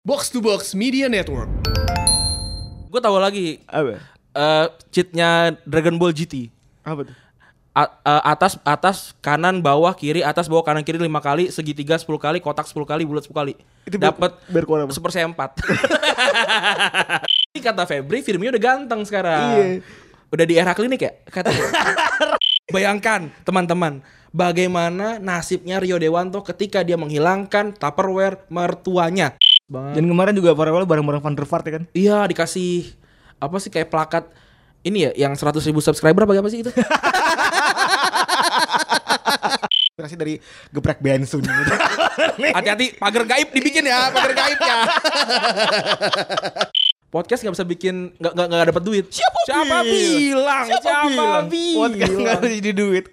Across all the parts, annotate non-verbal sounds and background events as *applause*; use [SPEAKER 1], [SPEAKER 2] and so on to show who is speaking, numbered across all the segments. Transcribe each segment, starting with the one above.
[SPEAKER 1] Box to Box Media Network.
[SPEAKER 2] Gue tahu lagi
[SPEAKER 3] Apa?
[SPEAKER 2] eh cheatnya Dragon Ball GT.
[SPEAKER 3] Apa tuh?
[SPEAKER 2] A- eh, atas atas kanan bawah kiri atas bawah kanan kiri lima kali segitiga 10 kali kotak 10 kali bulat 10 kali
[SPEAKER 3] Itu ber-
[SPEAKER 2] dapat
[SPEAKER 3] berkuat apa?
[SPEAKER 2] seper empat *laughs* Ini kata Febri filmnya udah ganteng sekarang
[SPEAKER 3] Iya.
[SPEAKER 2] udah di era klinik ya katanya
[SPEAKER 3] *laughs*
[SPEAKER 2] bayangkan teman-teman bagaimana nasibnya Rio Dewanto ketika dia menghilangkan Tupperware mertuanya
[SPEAKER 3] Dan kemarin juga Farewell bareng-bareng Van der Vaart ya kan?
[SPEAKER 2] Iya dikasih apa sih kayak plakat ini ya yang 100.000 ribu subscriber apa apa sih itu?
[SPEAKER 3] Inspirasi dari geprek *laughs* Bensun.
[SPEAKER 2] *laughs* Hati-hati pagar gaib dibikin ya pagar gaib ya. *laughs* Podcast nggak bisa bikin nggak nggak nggak dapat duit. Siapa, bilang? Siapa, bilang?
[SPEAKER 3] Podcast nggak harus jadi duit.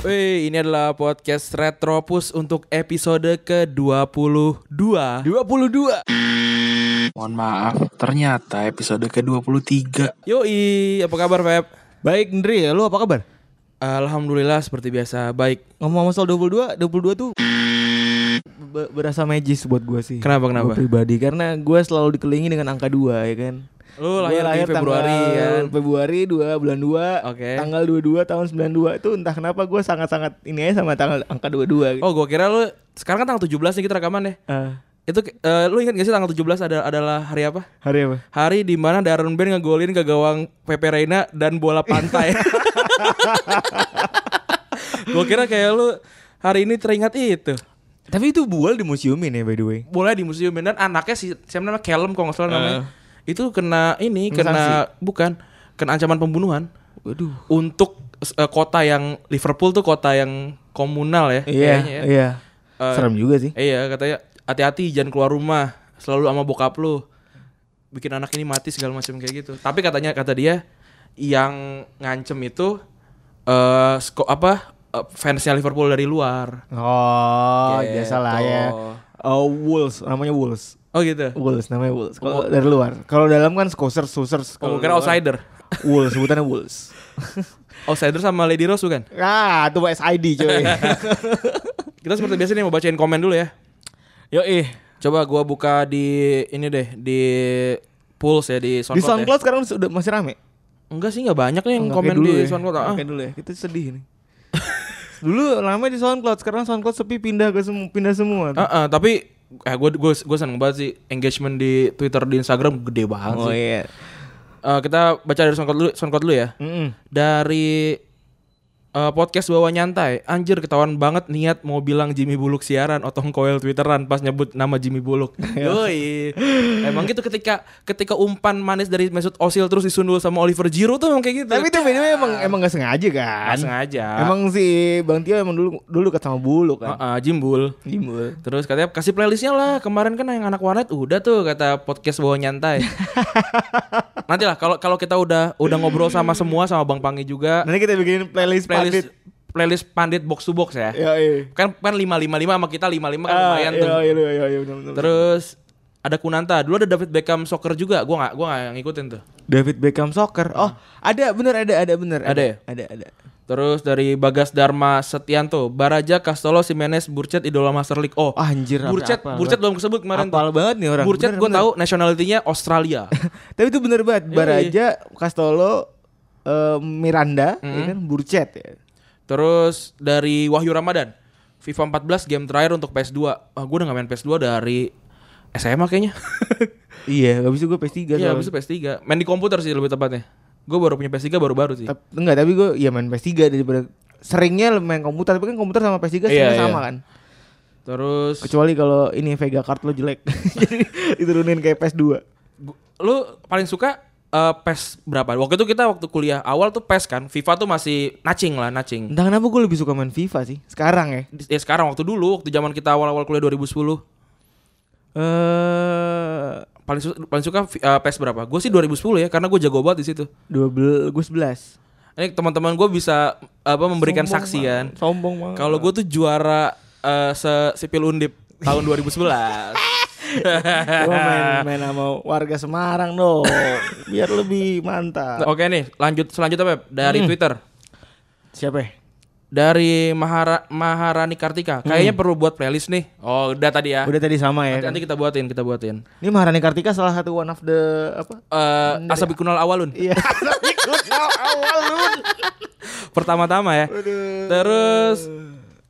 [SPEAKER 2] Wih, ini adalah podcast Retropus untuk episode ke-22.
[SPEAKER 3] 22.
[SPEAKER 4] Mohon maaf, ternyata episode ke-23
[SPEAKER 2] Yoi, apa kabar Feb?
[SPEAKER 3] Baik Ndri, lu apa kabar?
[SPEAKER 2] Alhamdulillah seperti biasa baik.
[SPEAKER 3] Ngomong-ngomong soal 22, 22 tuh be- berasa magis buat gua sih.
[SPEAKER 2] Kenapa, kenapa?
[SPEAKER 3] Gua pribadi karena gua selalu dikelilingi dengan angka 2 ya kan.
[SPEAKER 2] Lu
[SPEAKER 3] Gua
[SPEAKER 2] lahir, di Februari
[SPEAKER 3] tanggal
[SPEAKER 2] kan?
[SPEAKER 3] Februari 2 bulan 2.
[SPEAKER 2] Oke.
[SPEAKER 3] Tanggal 22 tahun 92 itu entah kenapa gua sangat-sangat ini aja sama tanggal angka 22.
[SPEAKER 2] Oh, gua kira lu sekarang kan tanggal 17 nih kita rekaman deh.
[SPEAKER 3] Ah,
[SPEAKER 2] Itu eh, lu ingat gak sih tanggal 17 ada adalah hari apa?
[SPEAKER 3] hari apa?
[SPEAKER 2] Hari di mana Darren Band ngegolin ke gawang Pepe Reina dan bola
[SPEAKER 3] *laughs*
[SPEAKER 2] pantai. Gue kira kayak lu hari ini teringat itu.
[SPEAKER 3] Tapi itu bual di museumin ya by the way.
[SPEAKER 2] Bola di museum dan anaknya si siapa namanya Calum kalau
[SPEAKER 3] Eh.
[SPEAKER 2] nggak salah namanya. Itu kena ini kena bukan kena ancaman pembunuhan.
[SPEAKER 3] Waduh.
[SPEAKER 2] Untuk eh, kota yang Liverpool tuh kota yang komunal ya
[SPEAKER 3] Iya,
[SPEAKER 2] kayaknya ya.
[SPEAKER 3] iya.
[SPEAKER 2] Eh,
[SPEAKER 3] Serem juga sih.
[SPEAKER 2] Iya katanya hati-hati jangan keluar rumah selalu sama bokap lu bikin anak ini mati segala macam kayak gitu. Tapi katanya kata dia yang ngancem itu eh sko- apa eh, fansnya Liverpool dari luar.
[SPEAKER 3] Oh,
[SPEAKER 2] Gitu.
[SPEAKER 3] biasalah ya. Oh, Wolves, namanya Wolves.
[SPEAKER 2] Oh gitu.
[SPEAKER 3] Wolves namanya Wolves. Kalau dari luar. Kalau dalam kan Scousers, Sousers.
[SPEAKER 2] Oh,
[SPEAKER 3] Kalau
[SPEAKER 2] gua kira
[SPEAKER 3] luar,
[SPEAKER 2] outsider.
[SPEAKER 3] Wolves, sebutannya
[SPEAKER 2] *laughs*
[SPEAKER 3] Wolves.
[SPEAKER 2] Outsider sama Lady Rose bukan?
[SPEAKER 3] Ah, itu SID
[SPEAKER 2] *laughs*
[SPEAKER 3] coy.
[SPEAKER 2] Kita seperti biasa nih mau bacain komen dulu ya.
[SPEAKER 3] Yo ih.
[SPEAKER 2] Coba gua buka di ini deh di Pulse ya di
[SPEAKER 3] Di
[SPEAKER 2] SoundCloud. ya.
[SPEAKER 3] SoundCloud sekarang sudah masih rame.
[SPEAKER 2] Enggak sih enggak banyak nih yang
[SPEAKER 3] Nggak,
[SPEAKER 2] komen
[SPEAKER 3] kayak
[SPEAKER 2] di
[SPEAKER 3] ya.
[SPEAKER 2] SoundCloud. Ah.
[SPEAKER 3] Nggak, Kayak dulu ya. Itu sedih nih. *laughs* dulu lama di SoundCloud, sekarang SoundCloud sepi pindah ke semua pindah semua.
[SPEAKER 2] Ah, ah, tapi eh gue gue gue seneng banget sih engagement di Twitter di Instagram gede banget
[SPEAKER 3] oh
[SPEAKER 2] sih.
[SPEAKER 3] iya.
[SPEAKER 2] Eh, kita baca dari SoundCloud dulu, SoundCloud dulu ya.
[SPEAKER 3] Mm-mm.
[SPEAKER 2] Dari eh, podcast bawa nyantai, anjir ketahuan banget niat mau bilang Jimmy Buluk siaran otong koel Twitteran pas nyebut nama Jimmy Buluk. Yoi. Emang gitu ketika ketika umpan manis dari Mesut Ozil terus disundul sama Oliver Giroud tuh emang kayak gitu.
[SPEAKER 3] Tapi itu video emang emang gak sengaja kan?
[SPEAKER 2] Nggak sengaja.
[SPEAKER 3] Emang si Bang Tio emang dulu dulu ket sama bulu
[SPEAKER 2] Ah,
[SPEAKER 3] kan.
[SPEAKER 2] ah, Jimbul.
[SPEAKER 3] Timbul.
[SPEAKER 2] Terus katanya kasih playlistnya lah kemarin kan yang anak warnet udah tuh kata podcast bawa
[SPEAKER 3] *laughs*
[SPEAKER 2] nyantai. Nanti lah kalau kalau kita udah udah ngobrol sama semua sama Bang Pangi juga
[SPEAKER 3] Nanti kita bikin playlist playlist.
[SPEAKER 2] playlist playlist pandit box to box ya.
[SPEAKER 3] Ya iya.
[SPEAKER 2] Kan kan 555 sama kita 55 kan
[SPEAKER 3] Ah,
[SPEAKER 2] lumayan
[SPEAKER 3] iya,
[SPEAKER 2] tuh.
[SPEAKER 3] Iya iya iya benar benar.
[SPEAKER 2] Terus ada Kunanta, dulu ada David Beckham soccer juga. Gua nggak gua nggak ngikutin tuh.
[SPEAKER 3] David Beckham soccer. Oh, ada bener ada ada bener.
[SPEAKER 2] Ada ya?
[SPEAKER 3] Ada ada.
[SPEAKER 2] Terus dari Bagas Dharma Setianto, Baraja, Castolo, Simenes, Burcet, Idola Master League. Oh,
[SPEAKER 3] Ah, anjir, apa-
[SPEAKER 2] Burcet,
[SPEAKER 3] apa-
[SPEAKER 2] Burcet belum kesebut kemarin.
[SPEAKER 3] Apal banget nih orang. Bener,
[SPEAKER 2] Burcet gue
[SPEAKER 3] bener.
[SPEAKER 2] tahu nationality-nya Australia.
[SPEAKER 3] *laughs* Tapi itu bener banget.
[SPEAKER 2] Iya,
[SPEAKER 3] Baraja, Castolo, eh, Miranda, ya kan Burcet ya.
[SPEAKER 2] Terus dari Wahyu Ramadan, FIFA 14 game terakhir untuk PS2. Ah, gue udah gak main PS2 dari SMA kayaknya.
[SPEAKER 3] Iya, habis itu gue PS3
[SPEAKER 2] Iya,
[SPEAKER 3] soalnya.
[SPEAKER 2] habis itu PS3. Main di komputer sih lebih tepatnya. Gue baru punya PS3 baru-baru sih.
[SPEAKER 3] Tap- enggak, tapi gue ya main PS3 daripada seringnya main komputer, tapi kan komputer sama PS3 seringnya
[SPEAKER 2] Iya,
[SPEAKER 3] sama
[SPEAKER 2] iya.
[SPEAKER 3] kan.
[SPEAKER 2] Terus
[SPEAKER 3] Kecuali kalau ini Vega card lo jelek. *laughs* Jadi diturunin kayak PS2.
[SPEAKER 2] gu- lu paling suka eh, PES berapa? Waktu itu kita waktu kuliah awal tuh PES kan. FIFA tuh masih nacing lah, nacing.
[SPEAKER 3] Entah kenapa gue lebih suka main FIFA sih sekarang ya.
[SPEAKER 2] Di- Ya sekarang waktu dulu, waktu zaman kita awal-awal kuliah 2010
[SPEAKER 3] Eh
[SPEAKER 2] paling su- paling suka fi- eh, PES berapa? Gue sih 2010 ya karena gue jago banget di situ.
[SPEAKER 3] 12 gue 11.
[SPEAKER 2] Ini teman-teman gue bisa apa memberikan saksi kan.
[SPEAKER 3] Sombong banget.
[SPEAKER 2] Kalau gue tuh juara eh, se sipil undip tahun 2011.
[SPEAKER 3] Gua *laughs* main, main sama warga Semarang dong Biar lebih mantap
[SPEAKER 2] Oke nih, lanjut selanjutnya Beb dari Twitter.
[SPEAKER 3] Siapa ya?
[SPEAKER 2] Dari Mahara, Maharani Kartika. Kayaknya perlu buat playlist nih. Hmm. Oh, udah tadi
[SPEAKER 3] *laughs*
[SPEAKER 2] ya.
[SPEAKER 3] Udah tadi sama ya
[SPEAKER 2] Nanti,
[SPEAKER 3] kan?
[SPEAKER 2] nanti kita buatin, kita buatin.
[SPEAKER 3] Ini Maharani Kartika salah satu one of the apa?
[SPEAKER 2] Eh Asabi Kunal Awalun.
[SPEAKER 3] *laughs* Iya.
[SPEAKER 2] Pertama-tama ya. Terus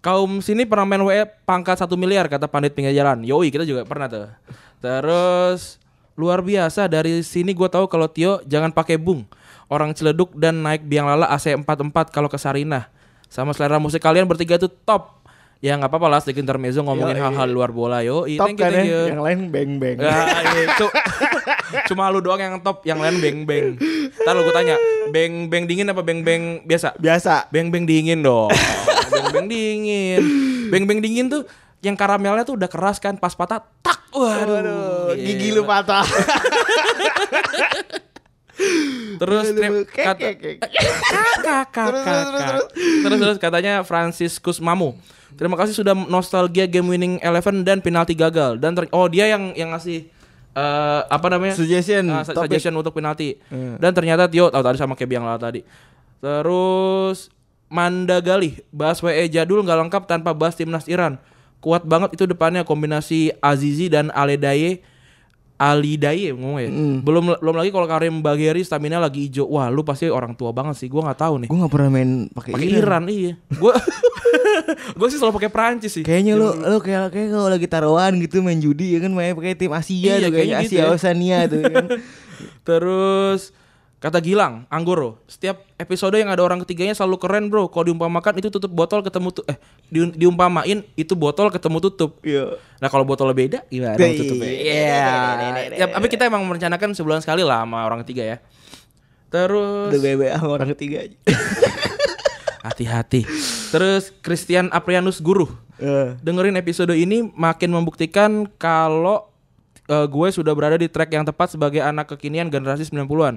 [SPEAKER 2] kaum sini pernah main WE pangkat 1 miliar kata pandit pinggir jalan. Yoi, kita juga pernah tuh. Terus luar biasa dari sini gua tahu kalau Tio jangan pakai bung. Orang Ciledug dan naik biang lala AC 44 kalau ke Sarinah. Sama selera musik kalian bertiga tuh top. Ya nggak apa-apa lah sedikit intermezzo ngomongin hal-hal luar bola. Yoi,
[SPEAKER 3] Top
[SPEAKER 2] thank you,
[SPEAKER 3] kan
[SPEAKER 2] thank you.
[SPEAKER 3] ya? Yang lain beng-beng.
[SPEAKER 2] Ah, iya, cu- *laughs* Cuma lu doang yang top, yang lain beng-beng. Ntar lu gue tanya, beng-beng dingin apa beng-beng biasa?
[SPEAKER 3] Biasa.
[SPEAKER 2] Beng-beng dingin dong. Beng-beng dingin. Beng-beng dingin tuh yang karamelnya tuh udah keras kan, pas patah tak. Waduh,
[SPEAKER 3] Waduh, Iya, gigi
[SPEAKER 2] gila.
[SPEAKER 3] lu *laughs* patah.
[SPEAKER 2] Terus
[SPEAKER 3] Aduh,
[SPEAKER 2] trip
[SPEAKER 3] kek,
[SPEAKER 2] kata-
[SPEAKER 3] kek, kek.
[SPEAKER 2] Kakak, kakak, kakak. Terus terus katanya Francis Kusmamu. Terima kasih sudah nostalgia game winning eleven dan penalti gagal dan ter- oh dia yang yang ngasih eh, apa namanya?
[SPEAKER 3] Suggestion,
[SPEAKER 2] Ah, su-
[SPEAKER 3] Hmm, topik.
[SPEAKER 2] suggestion untuk penalti.
[SPEAKER 3] Hmm.
[SPEAKER 2] Dan ternyata Tio tahu tadi sama kayak Biang Lala tadi. Terus Mandagali bahas WE jadul nggak lengkap tanpa bahas timnas Iran. Kuat banget itu depannya kombinasi Azizi dan Aledaye. Ali Daye ngomong ya. Belum belum lagi kalau Karim Bagheri stamina lagi hijau. Wah, lu pasti orang tua banget sih. Gua nggak tahu nih.
[SPEAKER 3] Gue gak pernah main pakai
[SPEAKER 2] Pakai Iran. iya. Gua *laughs* Gua sih selalu pakai Perancis sih.
[SPEAKER 3] Kayaknya lu lu kayak kayak kalau lagi taruhan gitu main judi ya kan main pakai tim Asia tuh kayaknya
[SPEAKER 2] Iya, kayaknya gitu
[SPEAKER 3] Asia
[SPEAKER 2] ya.
[SPEAKER 3] Oceania tuh ya kan.
[SPEAKER 2] Terus kata Gilang, Anggoro, setiap episode yang ada orang ketiganya selalu keren, Bro. Kalau diumpamakan itu tutup botol ketemu tu eh di- diumpamain itu botol ketemu tutup.
[SPEAKER 3] *laughs* Iya.
[SPEAKER 2] Nah, kalau botolnya beda gimana
[SPEAKER 3] Iya.
[SPEAKER 2] tutupnya? Iya. Ya, tapi kita emang merencanakan sebulan sekali lah sama orang ketiga ya. Terus
[SPEAKER 3] Udah bebe sama orang ketiga.
[SPEAKER 2] Hati-hati. Terus Christian Aprianus Guru.
[SPEAKER 3] *laughs* Eh.
[SPEAKER 2] Dengerin episode ini makin membuktikan kalau eh, gue sudah berada di track yang tepat sebagai anak kekinian generasi 90-an.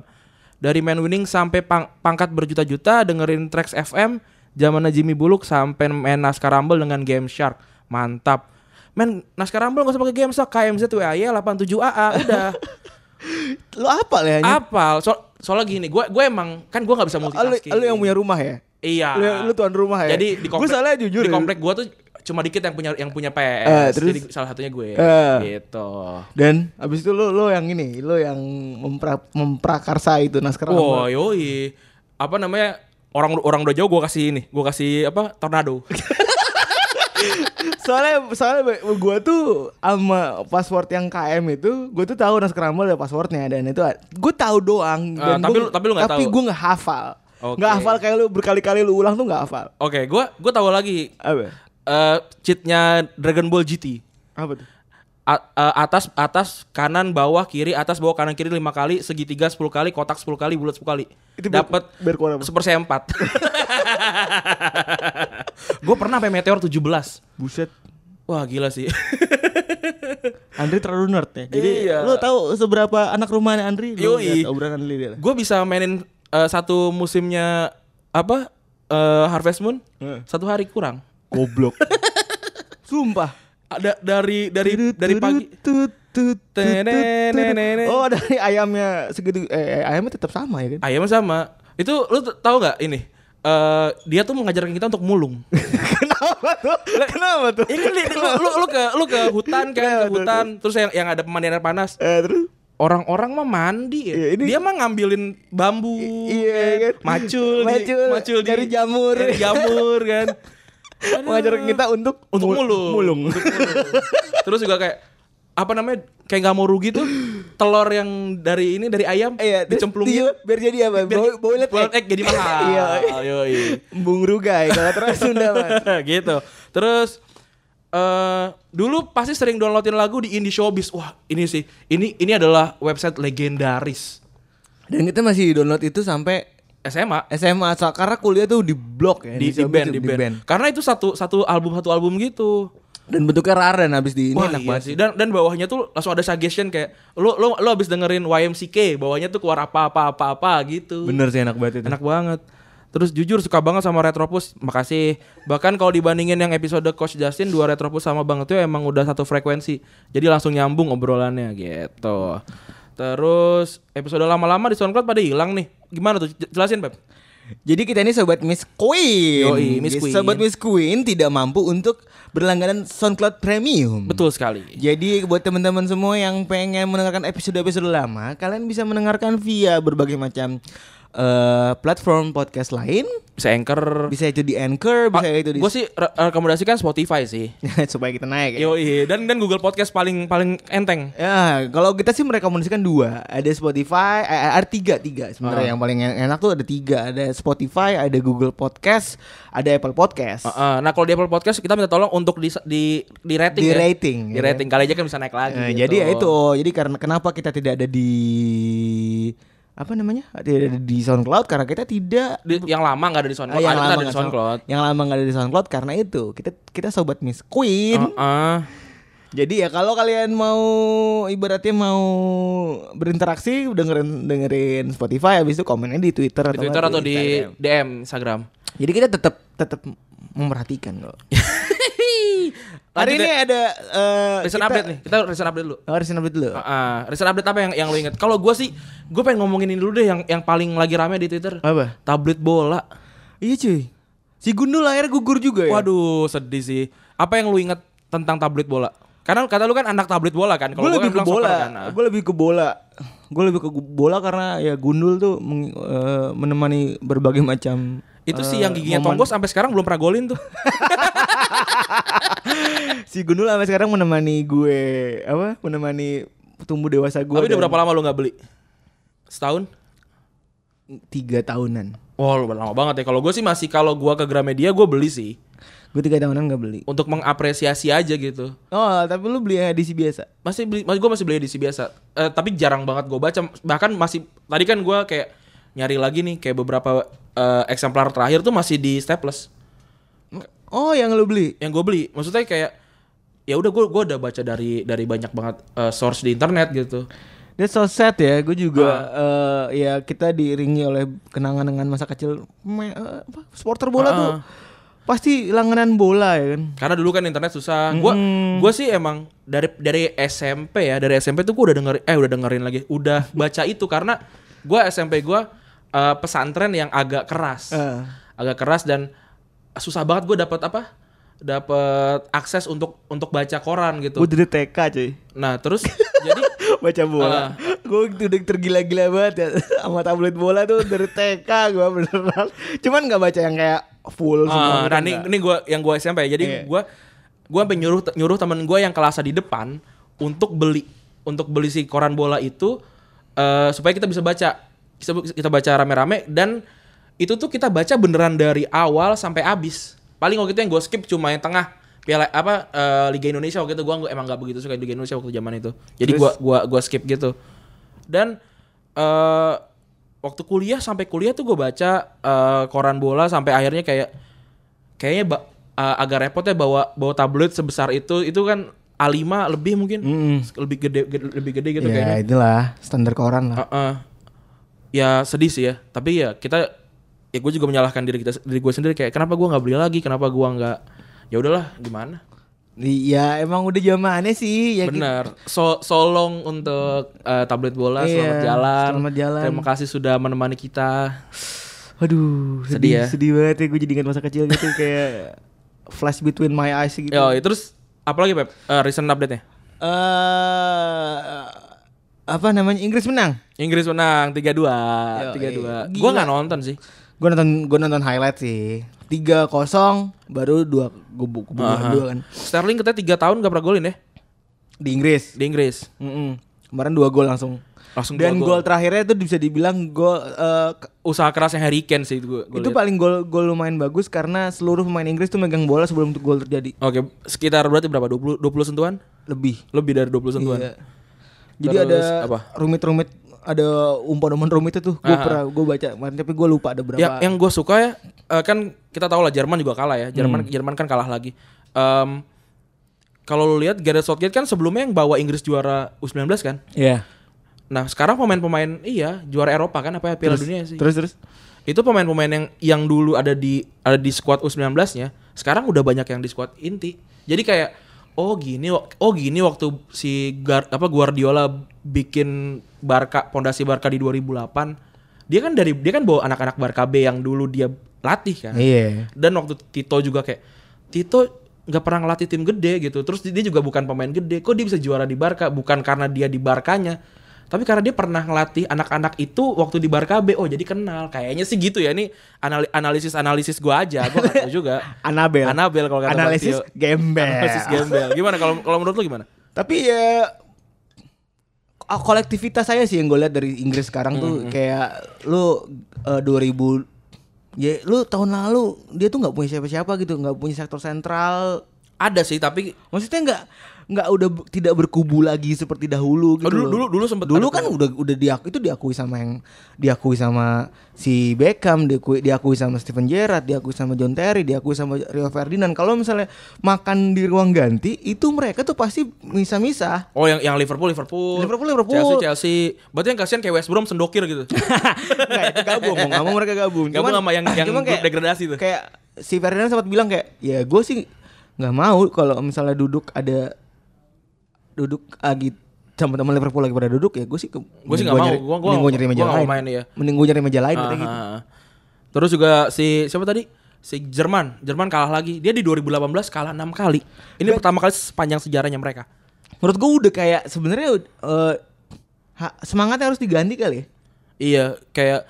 [SPEAKER 2] Dari man winning sampai pang- pangkat berjuta-juta dengerin tracks FM zamannya Jimmy Buluk sampai main Naskah Rumble dengan Game Shark. Mantap. Men, Naskah Rumble gak usah pakai Game Shark, KMZ
[SPEAKER 3] *laughs*
[SPEAKER 2] WAY 87AA udah.
[SPEAKER 3] lu apa lah ya?
[SPEAKER 2] Apal. So soalnya gini, gue gue emang kan gue nggak bisa
[SPEAKER 3] Ah, Lu,
[SPEAKER 2] multitasking.
[SPEAKER 3] lu yang punya rumah ya?
[SPEAKER 2] Iya.
[SPEAKER 3] Lu, lu tuan rumah ya?
[SPEAKER 2] Jadi di komplek,
[SPEAKER 3] Gue salah jujur
[SPEAKER 2] di
[SPEAKER 3] ya.
[SPEAKER 2] komplek gue tuh cuma dikit yang punya yang punya PS.
[SPEAKER 3] Eh, terus?
[SPEAKER 2] Jadi salah satunya gue.
[SPEAKER 3] Eh.
[SPEAKER 2] Gitu.
[SPEAKER 3] Dan abis itu lu, lu yang ini Lu yang mempra, memprakarsa itu Nah, naskah
[SPEAKER 2] Wah,
[SPEAKER 3] Rumble.
[SPEAKER 2] yoi. Apa namanya? Orang orang udah jauh gue kasih ini. Gue kasih apa?
[SPEAKER 3] *laughs*
[SPEAKER 2] Tornado.
[SPEAKER 3] Soalnya, soalnya gue tuh sama password yang KM itu Gue tuh tahu naskah Rumble ada passwordnya Dan itu gue tahu doang
[SPEAKER 2] Ah,
[SPEAKER 3] dan
[SPEAKER 2] tapi
[SPEAKER 3] gua-
[SPEAKER 2] lu- tapi lu nggak
[SPEAKER 3] Tapi
[SPEAKER 2] tahu.
[SPEAKER 3] gue gak hafal
[SPEAKER 2] Oke.
[SPEAKER 3] Gak hafal kayak lu berkali-kali lu ulang tuh gak hafal
[SPEAKER 2] Oke, gue gue tahu lagi
[SPEAKER 3] Apa?
[SPEAKER 2] eh cheatnya Dragon Ball GT.
[SPEAKER 3] Apa tuh?
[SPEAKER 2] A- eh, atas atas kanan bawah kiri atas bawah kanan kiri lima kali segitiga 10 kali kotak 10 kali bulat 10 kali
[SPEAKER 3] Itu biar-
[SPEAKER 2] dapat
[SPEAKER 3] biar keluar apa?
[SPEAKER 2] seper
[SPEAKER 3] *laughs*
[SPEAKER 2] empat gue pernah sampai meteor 17
[SPEAKER 3] Buset
[SPEAKER 2] Wah gila sih.
[SPEAKER 3] Andri terlalu nerd ya. Jadi
[SPEAKER 2] Iya.
[SPEAKER 3] lu tahu seberapa anak rumahnya Andri? Lu
[SPEAKER 2] Yoi.
[SPEAKER 3] lihat obrolan Andri dia.
[SPEAKER 2] gue bisa mainin eh, satu musimnya apa eh, Harvest Moon
[SPEAKER 3] Heeh.
[SPEAKER 2] satu hari kurang.
[SPEAKER 3] *laughs* Goblok. Sumpah.
[SPEAKER 2] Ada dari dari dari pagi.
[SPEAKER 3] Tut, tut, tut, tut, tut.
[SPEAKER 2] Tenenenenen.
[SPEAKER 3] Oh, dari ayamnya segitu eh eh, ayamnya tetap sama ya kan?
[SPEAKER 2] Ayam Ah, iya, sama. Itu lu t- tahu nggak ini? Eh dia tuh mengajarkan kita untuk mulung.
[SPEAKER 3] *laughs* Kenapa tuh? Kenapa tuh?
[SPEAKER 2] Iya kan, Li? lu, lu, lu ke lu ke
[SPEAKER 3] Iya,
[SPEAKER 2] hutan kan, ke hutan, terus yang yang ada pemandian air panas.
[SPEAKER 3] Eh terus
[SPEAKER 2] Orang-orang mah mandi ya.
[SPEAKER 3] Iya, ini-
[SPEAKER 2] Dia mah ngambilin bambu,
[SPEAKER 3] iya kan.
[SPEAKER 2] macul,
[SPEAKER 3] Macul,
[SPEAKER 2] di,
[SPEAKER 3] nyari jamur.
[SPEAKER 2] nyari jamur kan. Aduh.
[SPEAKER 3] mengajarkan kita untuk
[SPEAKER 2] untuk
[SPEAKER 3] mul-
[SPEAKER 2] mulung.
[SPEAKER 3] Mulung.
[SPEAKER 2] Untuk mulung. Terus juga kayak apa namanya kayak nggak mau rugi tuh telur yang dari ini dari
[SPEAKER 3] *laughs*
[SPEAKER 2] ayam
[SPEAKER 3] Iya, terus
[SPEAKER 2] dicemplungin
[SPEAKER 3] dia- biar jadi apa? Bo- boiled egg.
[SPEAKER 2] egg jadi
[SPEAKER 3] *laughs*
[SPEAKER 2] mahal.
[SPEAKER 3] Iya.
[SPEAKER 2] Yoi.
[SPEAKER 3] Bung Rugai kalau terus Sunda, Mas.
[SPEAKER 2] *laughs* gitu. Terus eh dulu pasti sering downloadin lagu di Indie Showbiz. Wah, ini sih. Ini ini adalah website legendaris.
[SPEAKER 3] Dan kita masih download itu sampai
[SPEAKER 2] SMA
[SPEAKER 3] SMA so- karena kuliah tuh di blok ya
[SPEAKER 2] di, di, band, di band. Karena itu satu satu album satu album gitu.
[SPEAKER 3] Dan bentuknya rare dan habis di ini
[SPEAKER 2] Wah,
[SPEAKER 3] enak
[SPEAKER 2] iya
[SPEAKER 3] banget
[SPEAKER 2] sih. Dan dan bawahnya tuh langsung ada suggestion kayak lu lu lu habis dengerin YMCK, bawahnya tuh keluar apa apa apa apa gitu.
[SPEAKER 3] Bener sih enak banget itu.
[SPEAKER 2] Enak banget. Terus jujur suka banget sama Retropus. Makasih. Bahkan kalau dibandingin yang episode Coach Justin dua Retropus sama Bang Tio emang udah satu frekuensi. Jadi langsung nyambung obrolannya gitu. Terus episode lama-lama di SoundCloud pada hilang nih. Gimana tuh? J- Jelasin, Pep.
[SPEAKER 3] Hmm. Jadi kita ini sobat Miss Queen.
[SPEAKER 2] Yoi, Miss Queen.
[SPEAKER 3] Sobat Miss Queen tidak mampu untuk berlangganan SoundCloud Premium.
[SPEAKER 2] Betul sekali.
[SPEAKER 3] Jadi buat teman-teman semua yang pengen mendengarkan episode-episode lama, kalian bisa mendengarkan via berbagai macam eh, platform podcast lain.
[SPEAKER 2] Bisa anchor.
[SPEAKER 3] Bisa itu di Anchor, bisa itu di *laughs*
[SPEAKER 2] Gue sih re- rekomendasikan Spotify sih.
[SPEAKER 3] supaya kita naik. Ya.
[SPEAKER 2] Yoi, dan dan Google Podcast paling paling enteng.
[SPEAKER 3] Ya, kalau kita sih merekomendasikan dua. Ada Spotify, eh, ada tiga, tiga
[SPEAKER 2] Ah.
[SPEAKER 3] sebenarnya yang paling en- enak tuh ada tiga. Ada Spotify, ada Google Podcast, ada Apple Podcast.
[SPEAKER 2] Heeh, nah kalau di Apple Podcast kita minta tolong untuk di di di rating
[SPEAKER 3] Di
[SPEAKER 2] ya.
[SPEAKER 3] rating,
[SPEAKER 2] Di
[SPEAKER 3] ya.
[SPEAKER 2] rating kali aja kan bisa naik lagi.
[SPEAKER 3] Eh,
[SPEAKER 2] gitu.
[SPEAKER 3] Jadi ya itu, jadi karena kenapa kita tidak ada di apa namanya? Tidak ada di SoundCloud karena kita tidak
[SPEAKER 2] Di- yang lama nggak ada di
[SPEAKER 3] Ah,
[SPEAKER 2] SoundCloud,
[SPEAKER 3] yang
[SPEAKER 2] ada,
[SPEAKER 3] lama
[SPEAKER 2] ada di
[SPEAKER 3] nggak
[SPEAKER 2] SoundCloud.
[SPEAKER 3] Yang lama nggak ada di SoundCloud karena itu kita kita sobat Miss Queen.
[SPEAKER 2] Heeh.
[SPEAKER 3] Hmm. Jadi ya kalau kalian mau ibaratnya mau berinteraksi dengerin dengerin Spotify habis itu komennya di Twitter
[SPEAKER 2] di Twitter atau di
[SPEAKER 3] Instagram. Eh,
[SPEAKER 2] DM Instagram.
[SPEAKER 3] Jadi kita tetap tetap memperhatikan kok. Hari
[SPEAKER 2] *laughs* Lanjut
[SPEAKER 3] ini
[SPEAKER 2] ya.
[SPEAKER 3] ada eh,
[SPEAKER 2] recent
[SPEAKER 3] kita-
[SPEAKER 2] update nih. Kita recent update dulu.
[SPEAKER 3] Oh, recent update dulu.
[SPEAKER 2] Heeh, recent update apa yang yang lo inget? Kalau gue sih, gue pengen ngomongin ini dulu deh yang yang paling lagi rame di Twitter.
[SPEAKER 3] Apa?
[SPEAKER 2] Tablet bola.
[SPEAKER 3] Iya cuy. Si Gundul akhirnya gugur juga ya.
[SPEAKER 2] Waduh, sedih sih. Apa yang lu inget tentang tablet bola? Karena kata lu kan anak tablet bola kan. Kalau
[SPEAKER 3] gue lebih
[SPEAKER 2] gua kan
[SPEAKER 3] ke
[SPEAKER 2] bilang soccer
[SPEAKER 3] bola
[SPEAKER 2] kan. Ah.
[SPEAKER 3] gue lebih ke bola gue lebih ke gu- bola karena ya gundul tuh meng- eh, menemani berbagai macam
[SPEAKER 2] Itu sih
[SPEAKER 3] eh,
[SPEAKER 2] yang giginya
[SPEAKER 3] momen.
[SPEAKER 2] Tonggos sampai sekarang belum pernah golin tuh.
[SPEAKER 3] si gundul sampai sekarang menemani gue apa menemani tumbuh dewasa gue
[SPEAKER 2] Tapi udah
[SPEAKER 3] dan
[SPEAKER 2] berapa lama lu nggak beli? Setahun?
[SPEAKER 3] tiga tahunan
[SPEAKER 2] Wah, lu lama banget ya. Kalau gue sih masih kalau gua ke Gramedia gue beli sih
[SPEAKER 3] gue tiga tahunan gak beli
[SPEAKER 2] untuk mengapresiasi aja gitu.
[SPEAKER 3] oh tapi lu beli yang edisi biasa
[SPEAKER 2] Masih beli, gue masih beli edisi biasa. Eh, tapi jarang banget gue baca. Bahkan masih tadi kan gua kayak nyari lagi nih kayak beberapa eh, eksemplar terakhir tuh masih di staples
[SPEAKER 3] oh yang lu beli
[SPEAKER 2] yang gue beli. Maksudnya kayak ya udah gue gua udah baca dari dari banyak banget eh, source di internet gitu.
[SPEAKER 3] That's so sad ya, gue juga
[SPEAKER 2] Ah.
[SPEAKER 3] eh, ya kita diiringi oleh kenangan dengan masa kecil me- eh, apa, supporter bola
[SPEAKER 2] Ah.
[SPEAKER 3] tuh pasti langganan bola ya kan.
[SPEAKER 2] Karena dulu kan internet susah. Gua gua sih emang dari dari SMP ya, dari SMP tuh gua udah denger eh udah dengerin lagi, udah baca itu karena gua SMP gua eh, pesantren yang agak keras.
[SPEAKER 3] Eh.
[SPEAKER 2] Agak keras dan susah banget gua dapat apa? Dapat akses untuk untuk baca koran gitu.
[SPEAKER 3] Gue dari TK cuy *laughs*
[SPEAKER 2] Nah, terus jadi
[SPEAKER 3] baca
[SPEAKER 2] Ah.
[SPEAKER 3] bola. Gue udah tergila-gila banget ya *laughs* sama tablet bola tuh dari TK gue beneran. Cuman nggak baca yang kayak full semua.
[SPEAKER 2] Ah, nah, ini, ini gua yang gua SMP ya. Jadi
[SPEAKER 3] Iya.
[SPEAKER 2] gua gua sampai nyuruh nyuruh temen gua yang kelasnya di depan untuk beli untuk beli si koran bola itu eh, supaya kita bisa baca. Kita, kita baca rame-rame dan itu tuh kita baca beneran dari awal sampai habis. Paling waktu itu yang gua skip cuma yang tengah Piala apa eh, Liga Indonesia waktu itu gua nggak- emang nggak begitu suka Liga Indonesia waktu zaman itu. Jadi gua gua gua skip gitu. Dan eh waktu kuliah sampai kuliah tuh gue baca eh, koran bola sampai akhirnya kayak kayaknya ba- eh, agak repot ya bawa bawa tablet sebesar itu itu kan A5 lebih mungkin
[SPEAKER 3] Hmm.
[SPEAKER 2] lebih gede, gede- lebih gede gitu
[SPEAKER 3] ya
[SPEAKER 2] kayaknya. Ah.
[SPEAKER 3] itulah standar koran lah.
[SPEAKER 2] Heeh. Ya sedih sih ya, tapi ya kita ya gue juga menyalahkan diri kita diri gue sendiri kayak kenapa gue nggak beli lagi, kenapa gue nggak ya udahlah gimana.
[SPEAKER 3] Iya emang udah zamannya sih ya. kita-
[SPEAKER 2] Benar. So, solong untuk eh, tablet bola selamat
[SPEAKER 3] Iya,
[SPEAKER 2] jalan.
[SPEAKER 3] selamat jalan.
[SPEAKER 2] Terima kasih sudah menemani kita.
[SPEAKER 3] Aduh sedih,
[SPEAKER 2] Sedih ya.
[SPEAKER 3] sedih banget ya gue jadi ingat masa kecil
[SPEAKER 2] *laughs*
[SPEAKER 3] gitu kayak flash between my eyes gitu.
[SPEAKER 2] Yo, terus apalagi Pep? Eh, recent update-nya.
[SPEAKER 3] Eh, apa namanya Inggris menang?
[SPEAKER 2] Inggris menang 3-2,
[SPEAKER 3] Yo,
[SPEAKER 2] 3-2.
[SPEAKER 3] iya.
[SPEAKER 2] Gua
[SPEAKER 3] Gila.
[SPEAKER 2] nggak nonton sih.
[SPEAKER 3] Gue nonton gue nonton highlight sih. 3-0 baru dua gubuk kebobolan
[SPEAKER 2] Aha.
[SPEAKER 3] dua kan
[SPEAKER 2] Sterling katanya 3 tahun gak pernah golin ya
[SPEAKER 3] di Inggris.
[SPEAKER 2] di Inggris.
[SPEAKER 3] Mm-mm. Kemarin dua gol langsung.
[SPEAKER 2] Langsung
[SPEAKER 3] Dan
[SPEAKER 2] dua
[SPEAKER 3] gol terakhirnya itu bisa dibilang gol eh, ke-
[SPEAKER 2] Usaha kerasnya Harry Kane sih itu gua, gua
[SPEAKER 3] itu
[SPEAKER 2] lihat.
[SPEAKER 3] paling gol gol lumayan bagus karena seluruh pemain Inggris tuh megang bola sebelum tuh gol terjadi
[SPEAKER 2] Oke, sekitar berarti berapa? 20 20 sentuhan?
[SPEAKER 3] lebih.
[SPEAKER 2] Lebih dari 20 sentuhan.
[SPEAKER 3] Iya. Jadi
[SPEAKER 2] Terus
[SPEAKER 3] ada
[SPEAKER 2] apa?
[SPEAKER 3] rumit-rumit ada umpan-umpan rumit itu gue
[SPEAKER 2] Aha.
[SPEAKER 3] pernah gue baca kemarin tapi gue lupa ada berapa.
[SPEAKER 2] Ya, yang gue suka ya eh, kan kita tahu lah Jerman juga kalah
[SPEAKER 3] Hmm.
[SPEAKER 2] ya. Jerman Jerman kan kalah lagi. Em, kalau lu lihat Gareth Southgate kan sebelumnya yang bawa Inggris juara U19 kan.
[SPEAKER 3] Iya.
[SPEAKER 2] Nah, sekarang pemain-pemain iya juara Eropa kan apa ya Piala Dunia sih.
[SPEAKER 3] Terus terus.
[SPEAKER 2] itu pemain-pemain yang yang dulu ada di ada di squad U19-nya, sekarang udah banyak yang di squad inti. Jadi kayak oh gini wa- oh gini waktu si Gar, apa Guardiola bikin Barca pondasi Barca di 2008 dia kan dari dia kan bawa anak-anak Barca B yang dulu dia latih kan
[SPEAKER 3] Iya.
[SPEAKER 2] dan waktu Tito juga kayak Tito nggak pernah ngelatih tim gede gitu terus dia juga bukan pemain gede kok dia bisa juara di Barca bukan karena dia di Barkanya tapi karena dia pernah ngelatih anak-anak itu waktu di Barca B oh jadi kenal kayaknya sih gitu ya ini analisis analisis gua aja gua nggak tahu juga
[SPEAKER 3] Anabel.
[SPEAKER 2] Anabel kalau kata Pak
[SPEAKER 3] Analisis
[SPEAKER 2] Tio.
[SPEAKER 3] gembel.
[SPEAKER 2] analisis gembel gimana kalau kalau menurut lu gimana
[SPEAKER 3] Tapi ya ko- kolektivitas saya sih yang gue lihat dari Inggris sekarang tuh kayak lu eh, 2000 ya lu tahun lalu dia tuh nggak punya siapa-siapa gitu, nggak punya sektor sentral.
[SPEAKER 2] ada sih tapi
[SPEAKER 3] Maksudnya nggak nggak udah bu- tidak berkubu lagi seperti dahulu gitu.
[SPEAKER 2] Oh, dulu-
[SPEAKER 3] loh.
[SPEAKER 2] dulu- dulu sempet
[SPEAKER 3] dulu
[SPEAKER 2] ada
[SPEAKER 3] kan udah udah diaku itu diakui sama yang diakui sama si Beckham, diakui diakui sama Steven Gerrard, diakui sama John Terry, diakui sama Rio Ferdinand. Kalau misalnya makan di ruang ganti itu mereka tuh pasti
[SPEAKER 2] *laughs*
[SPEAKER 3] misah-misah.
[SPEAKER 2] Oh yang yang Liverpool Liverpool
[SPEAKER 3] Liverpool, Liverpool.
[SPEAKER 2] Chelsea Chelsea berarti yang kasihan kayak West Brom sendokir
[SPEAKER 3] *laughs*
[SPEAKER 2] gitu
[SPEAKER 3] Enggak, itu gabung mau nggak mau mereka gabung.
[SPEAKER 2] Gabung sama yang- yang
[SPEAKER 3] cuman
[SPEAKER 2] grup degradasi tuh.
[SPEAKER 3] Kayak si Ferdinand sempat bilang kayak, ya gue sih nggak mau kalau misalnya duduk ada duduk lagi sama teman Liverpool lagi pada duduk ya gue sih gue
[SPEAKER 2] sih nggak mau, gua- gua-
[SPEAKER 3] mending gue nyari
[SPEAKER 2] gua
[SPEAKER 3] meja
[SPEAKER 2] nggak
[SPEAKER 3] lain
[SPEAKER 2] mau main, iya.
[SPEAKER 3] mending gue nyari meja lain katanya gitu.
[SPEAKER 2] Ah. Terus juga si siapa tadi? Si Jerman. Jerman kalah lagi. Dia di 2018 kalah 6 kali. Ini pertama kali sepanjang sejarahnya mereka.
[SPEAKER 3] menurut gue udah kayak sebenarnya eh, ha- semangatnya harus diganti kali ya.
[SPEAKER 2] Iya, kayak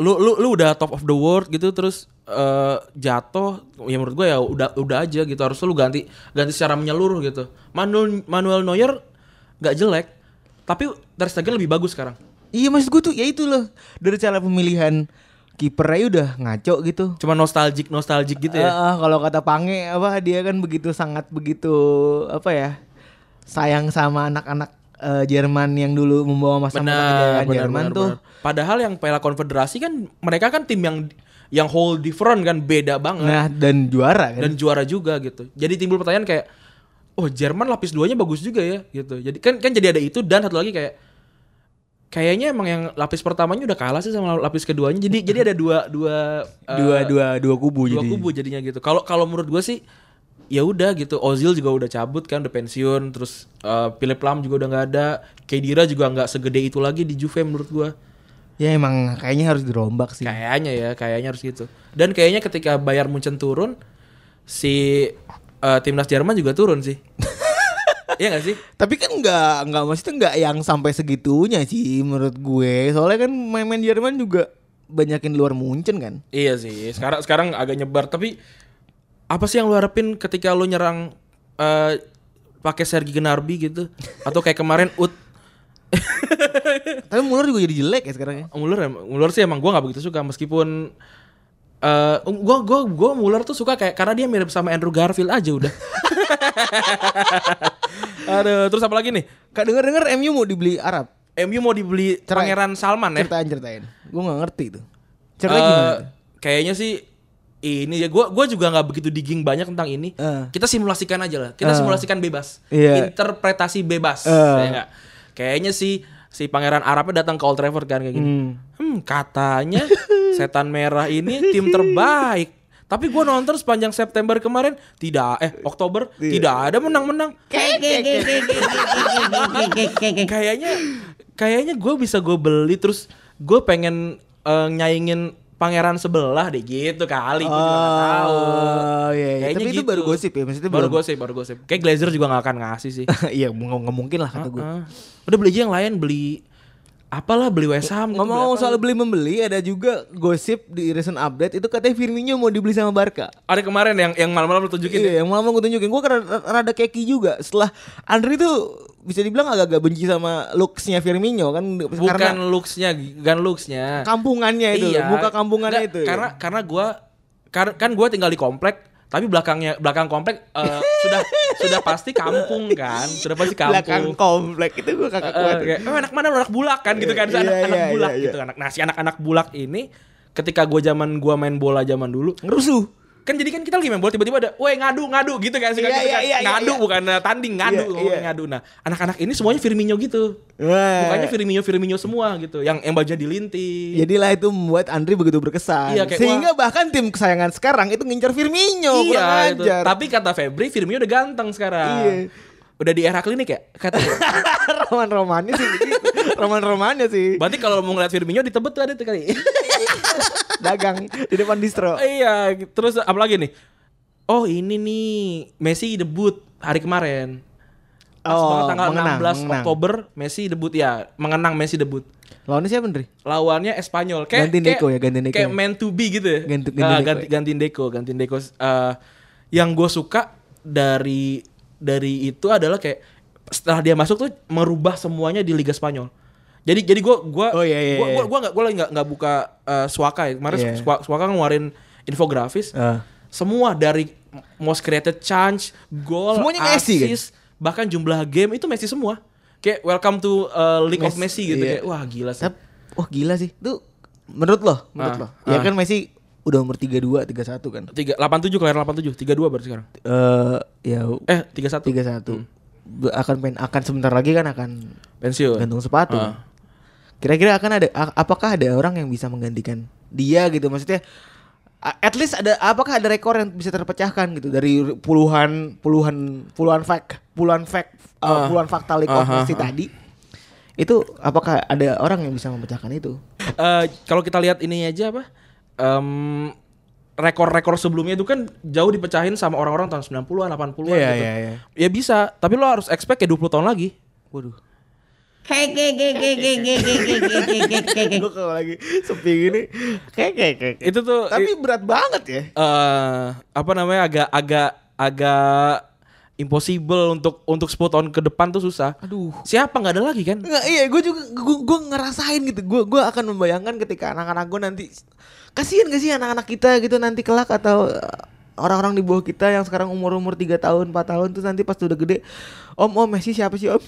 [SPEAKER 2] lu lu lu udah top of the world gitu terus eh, jatuh ya menurut gue ya udah udah aja gitu harusnya lu ganti ganti secara menyeluruh gitu. Manuel Manuel Neuer nggak jelek, tapi Ter Stegen lebih bagus sekarang.
[SPEAKER 3] iya maksud gue tuh ya itu loh dari cara pemilihan kipernya ya udah ngaco gitu
[SPEAKER 2] Cuma nostalgic nostalgic gitu
[SPEAKER 3] Eh,
[SPEAKER 2] ya.
[SPEAKER 3] eh, kalau kata Pange apa dia kan begitu sangat begitu apa ya sayang sama anak-anak eh, Jerman yang dulu membawa masa
[SPEAKER 2] benar,
[SPEAKER 3] kejayaan
[SPEAKER 2] Nah, benar,
[SPEAKER 3] Jerman
[SPEAKER 2] benar,
[SPEAKER 3] tuh.
[SPEAKER 2] benar. Padahal yang Piala Konfederasi kan mereka kan tim yang yang whole different kan beda banget
[SPEAKER 3] Nah dan juara kan.
[SPEAKER 2] dan juara juga gitu. Jadi timbul pertanyaan kayak oh Jerman lapis duanya bagus juga ya gitu. Jadi kan kan jadi ada itu dan satu lagi kayak kayaknya emang yang lapis pertamanya udah kalah sih sama lapis keduanya. Jadi jadi ada dua dua eh,
[SPEAKER 3] dua dua dua kubu
[SPEAKER 2] dua
[SPEAKER 3] jadi.
[SPEAKER 2] kubu jadinya gitu. Kalau kalau menurut gue sih ya udah gitu. Ozil juga udah cabut kan, udah pensiun. Terus eh, Philip Lam juga udah nggak ada. Kedira juga nggak segede itu lagi di Juve menurut gue.
[SPEAKER 3] Ya emang kayaknya harus dirombak sih.
[SPEAKER 2] Kayaknya ya, kayaknya harus gitu. Dan kayaknya ketika Bayar Munchen turun, si eh, timnas Jerman juga turun sih. Iya gak sih?
[SPEAKER 3] Tapi kan nggak nggak maksudnya nggak yang sampai segitunya sih menurut gue. Soalnya kan main-main Jerman juga banyakin luar Munchen kan.
[SPEAKER 2] Iya sih. Sekarang sekarang agak nyebar. Tapi apa sih yang lu harapin ketika lu nyerang eh, pakai Sergi Gnabry gitu? Atau kayak kemarin Ut
[SPEAKER 3] Tapi Muller juga jadi jelek ya sekarang ya.
[SPEAKER 2] Muller em- Muller sih emang gue nggak begitu suka meskipun eh gue gue gue Muller tuh suka kayak karena dia mirip sama Andrew Garfield aja udah. Aduh, terus apa lagi nih?
[SPEAKER 3] Kak denger-denger MU mau dibeli Arab.
[SPEAKER 2] MU mau dibeli
[SPEAKER 3] Cerai.
[SPEAKER 2] Pangeran Salman ya?
[SPEAKER 3] Ceritain ceritain. Gue nggak ngerti tuh.
[SPEAKER 2] Eh,
[SPEAKER 3] Ceritanya gimana? tuh?
[SPEAKER 2] Kayaknya sih ini ya gue gua juga nggak begitu digging banyak tentang ini.
[SPEAKER 3] Eh.
[SPEAKER 2] Kita simulasikan aja lah. Kita simulasikan bebas.
[SPEAKER 3] Iya. Eh.
[SPEAKER 2] Interpretasi bebas. ya nggak? Kayaknya sih si pangeran Arabnya datang ke Old Trafford kan kayak gini. Hmm, katanya setan merah ini tim terbaik. Tapi gue nonton sepanjang September kemarin tidak eh Oktober
[SPEAKER 3] Iya.
[SPEAKER 2] tidak ada menang-menang.
[SPEAKER 3] Eh.
[SPEAKER 2] kayaknya kayaknya gue bisa gue beli terus gue pengen eh, nyaingin pangeran sebelah deh gitu kali gue juga nggak tahu
[SPEAKER 3] Oh, iya, iya.
[SPEAKER 2] Kayaknya gitu.
[SPEAKER 3] Tapi itu baru gosip ya, maksudnya
[SPEAKER 2] baru
[SPEAKER 3] belum-
[SPEAKER 2] gosip baru gosip kayak Glazer juga nggak akan ngasih sih
[SPEAKER 3] *laughs* Iya nggak nggak mungkin lah kata gue.
[SPEAKER 2] Ah, udah beli aja yang lain beli apalah beli West Ham gitu,
[SPEAKER 3] Ngomong
[SPEAKER 2] beli apa.
[SPEAKER 3] soal beli membeli ada juga gosip di recent update itu katanya Firmino mau dibeli sama Barca.
[SPEAKER 2] ada kemarin yang yang malam-malam lu tunjukin ya.
[SPEAKER 3] Iya, yang malam gue tunjukin gue karena rada keki juga. Setelah Andre tuh bisa dibilang agak-agak benci sama looksnya Firmino kan
[SPEAKER 2] bukan
[SPEAKER 3] karena
[SPEAKER 2] looksnya bukan looksnya Iya.
[SPEAKER 3] kampungannya itu, muka kampungannya
[SPEAKER 2] Nggak,
[SPEAKER 3] itu.
[SPEAKER 2] Karena karena gua kar- kan gua tinggal di komplek, tapi belakangnya belakang komplek eh, sudah sudah pasti kampung kan, sudah pasti
[SPEAKER 3] belakang
[SPEAKER 2] kampung.
[SPEAKER 3] komplek itu gue
[SPEAKER 2] Eh,
[SPEAKER 3] kakak
[SPEAKER 2] eh,
[SPEAKER 3] kuat.
[SPEAKER 2] kayak, "Oh, anak mana lu? anak bulak kan gitu kan Terus
[SPEAKER 3] Iya,
[SPEAKER 2] anak anak
[SPEAKER 3] iya,
[SPEAKER 2] bulak kan.
[SPEAKER 3] iya,
[SPEAKER 2] gitu anak nah si anak anak bulak ini ketika gua zaman gua main bola zaman dulu
[SPEAKER 3] Ngerusuh.
[SPEAKER 2] kan jadi kan kita lagi main bola tiba-tiba ada weh ngadu ngadu gitu kan suka
[SPEAKER 3] Iya,
[SPEAKER 2] gitu
[SPEAKER 3] iya,
[SPEAKER 2] kan.
[SPEAKER 3] iya, iya,
[SPEAKER 2] ngadu
[SPEAKER 3] iya.
[SPEAKER 2] bukan eh, tanding ngadu
[SPEAKER 3] Iya, Eh.
[SPEAKER 2] ngomongin
[SPEAKER 3] iya.
[SPEAKER 2] ngadu nah anak-anak ini semuanya Firmino gitu
[SPEAKER 3] Wah.
[SPEAKER 2] bukannya Firmino Firmino semua gitu yang yang bajunya dilinti
[SPEAKER 3] Jadilah itu membuat Andri begitu berkesan.
[SPEAKER 2] Iya, kayak,
[SPEAKER 3] Sehingga bahkan tim kesayangan sekarang itu ngincar Firmino. kurang
[SPEAKER 2] itu.
[SPEAKER 3] ajar.
[SPEAKER 2] Iya, gitu. tapi kata Febri Firmino udah ganteng sekarang
[SPEAKER 3] Iya.
[SPEAKER 2] udah di era klinik ya katanya
[SPEAKER 3] *laughs* roman-romannya sih begitu. Roman-romannya sih.
[SPEAKER 2] berarti kalau mau ngeliat Firmino ditebet tuh ada tuh kali
[SPEAKER 3] Dagang di depan distro.
[SPEAKER 2] iya terus apalagi nih oh ini nih Messi debut hari kemarin Pas
[SPEAKER 3] Oh,
[SPEAKER 2] banget tanggal
[SPEAKER 3] mengenang,
[SPEAKER 2] 16
[SPEAKER 3] mengenang.
[SPEAKER 2] Oktober Messi debut ya mengenang Messi debut
[SPEAKER 3] Lawannya siapa Andri?
[SPEAKER 2] lawannya Espanyol kayak
[SPEAKER 3] Gantiin
[SPEAKER 2] kayak-
[SPEAKER 3] Deco ya, gantiin Deco
[SPEAKER 2] kayak
[SPEAKER 3] ya.
[SPEAKER 2] man to be gitu ya
[SPEAKER 3] Ganti- gantiin
[SPEAKER 2] Ah,
[SPEAKER 3] Deco
[SPEAKER 2] ganti,
[SPEAKER 3] ya.
[SPEAKER 2] gantiin Deco gantiin Deco Eh, yang gue suka dari dari itu adalah kayak setelah dia masuk tuh merubah semuanya di Liga Spanyol jadi jadi gue gua
[SPEAKER 3] Oh, iya, iya,
[SPEAKER 2] gua gua
[SPEAKER 3] iya.
[SPEAKER 2] gua nggak gua lagi nggak nggak buka eh, Suaka ya kemarin
[SPEAKER 3] Iya.
[SPEAKER 2] Swa- Suaka ngeluarin infografis
[SPEAKER 3] Ah.
[SPEAKER 2] semua dari most created chance goal
[SPEAKER 3] Semuanya ke Messi, kan?
[SPEAKER 2] assist, bahkan jumlah game itu Messi semua kayak welcome to eh, League of
[SPEAKER 3] Messi,
[SPEAKER 2] Messi gitu
[SPEAKER 3] iya.
[SPEAKER 2] kayak wah gila sih
[SPEAKER 3] Tapi wah gila sih. Itu menurut lo, menurut
[SPEAKER 2] Ah,
[SPEAKER 3] lo. Ya
[SPEAKER 2] ah.
[SPEAKER 3] kan Messi udah umur 32, 31 kan.
[SPEAKER 2] tiga delapan tujuh kelahiran delapan tujuh tiga dua berarti sekarang
[SPEAKER 3] Eh ya
[SPEAKER 2] eh tiga satu
[SPEAKER 3] 31. Be- akan main akan sebentar lagi kan akan
[SPEAKER 2] pensiun
[SPEAKER 3] gantung sepatu.
[SPEAKER 2] Ah.
[SPEAKER 3] Kira-kira akan ada a- apakah ada orang yang bisa menggantikan dia gitu maksudnya a- at least ada apakah ada rekor yang bisa terpecahkan gitu dari puluhan puluhan puluhan fact puluhan fact uh, puluhan fakta League of
[SPEAKER 2] Ah, ah,
[SPEAKER 3] Messi
[SPEAKER 2] ah.
[SPEAKER 3] tadi itu apakah ada orang yang bisa memecahkan itu
[SPEAKER 2] Eh, kalau kita lihat ini aja apa Em, rekor-rekor sebelumnya itu kan jauh dipecahin sama orang-orang tahun 90-an
[SPEAKER 3] Iya,
[SPEAKER 2] 80-an gitu
[SPEAKER 3] iya, iya.
[SPEAKER 2] ya bisa tapi lo harus expect kayak 20 tahun lagi
[SPEAKER 3] waduh
[SPEAKER 5] Hey, hey, hey, hey, hey, hey, hey, hey, hey, hey, hey.
[SPEAKER 3] gue kalau lagi sepi gini kayak kayak kayak
[SPEAKER 2] itu tuh
[SPEAKER 3] tapi berat banget ya
[SPEAKER 2] eh apa namanya agak agak agak impossible untuk untuk 10 tahun ke depan tuh susah
[SPEAKER 3] aduh
[SPEAKER 2] siapa nggak ada lagi kan
[SPEAKER 3] Nggak, iya gue juga gue, gue ngerasain gitu gue gue akan membayangkan ketika anak-anak gue nanti kasihan gak sih anak-anak kita gitu nanti kelak atau uh, orang-orang di bawah kita yang sekarang umur umur 3 tahun 4 tahun tuh nanti pas udah gede om om Messi siapa sih om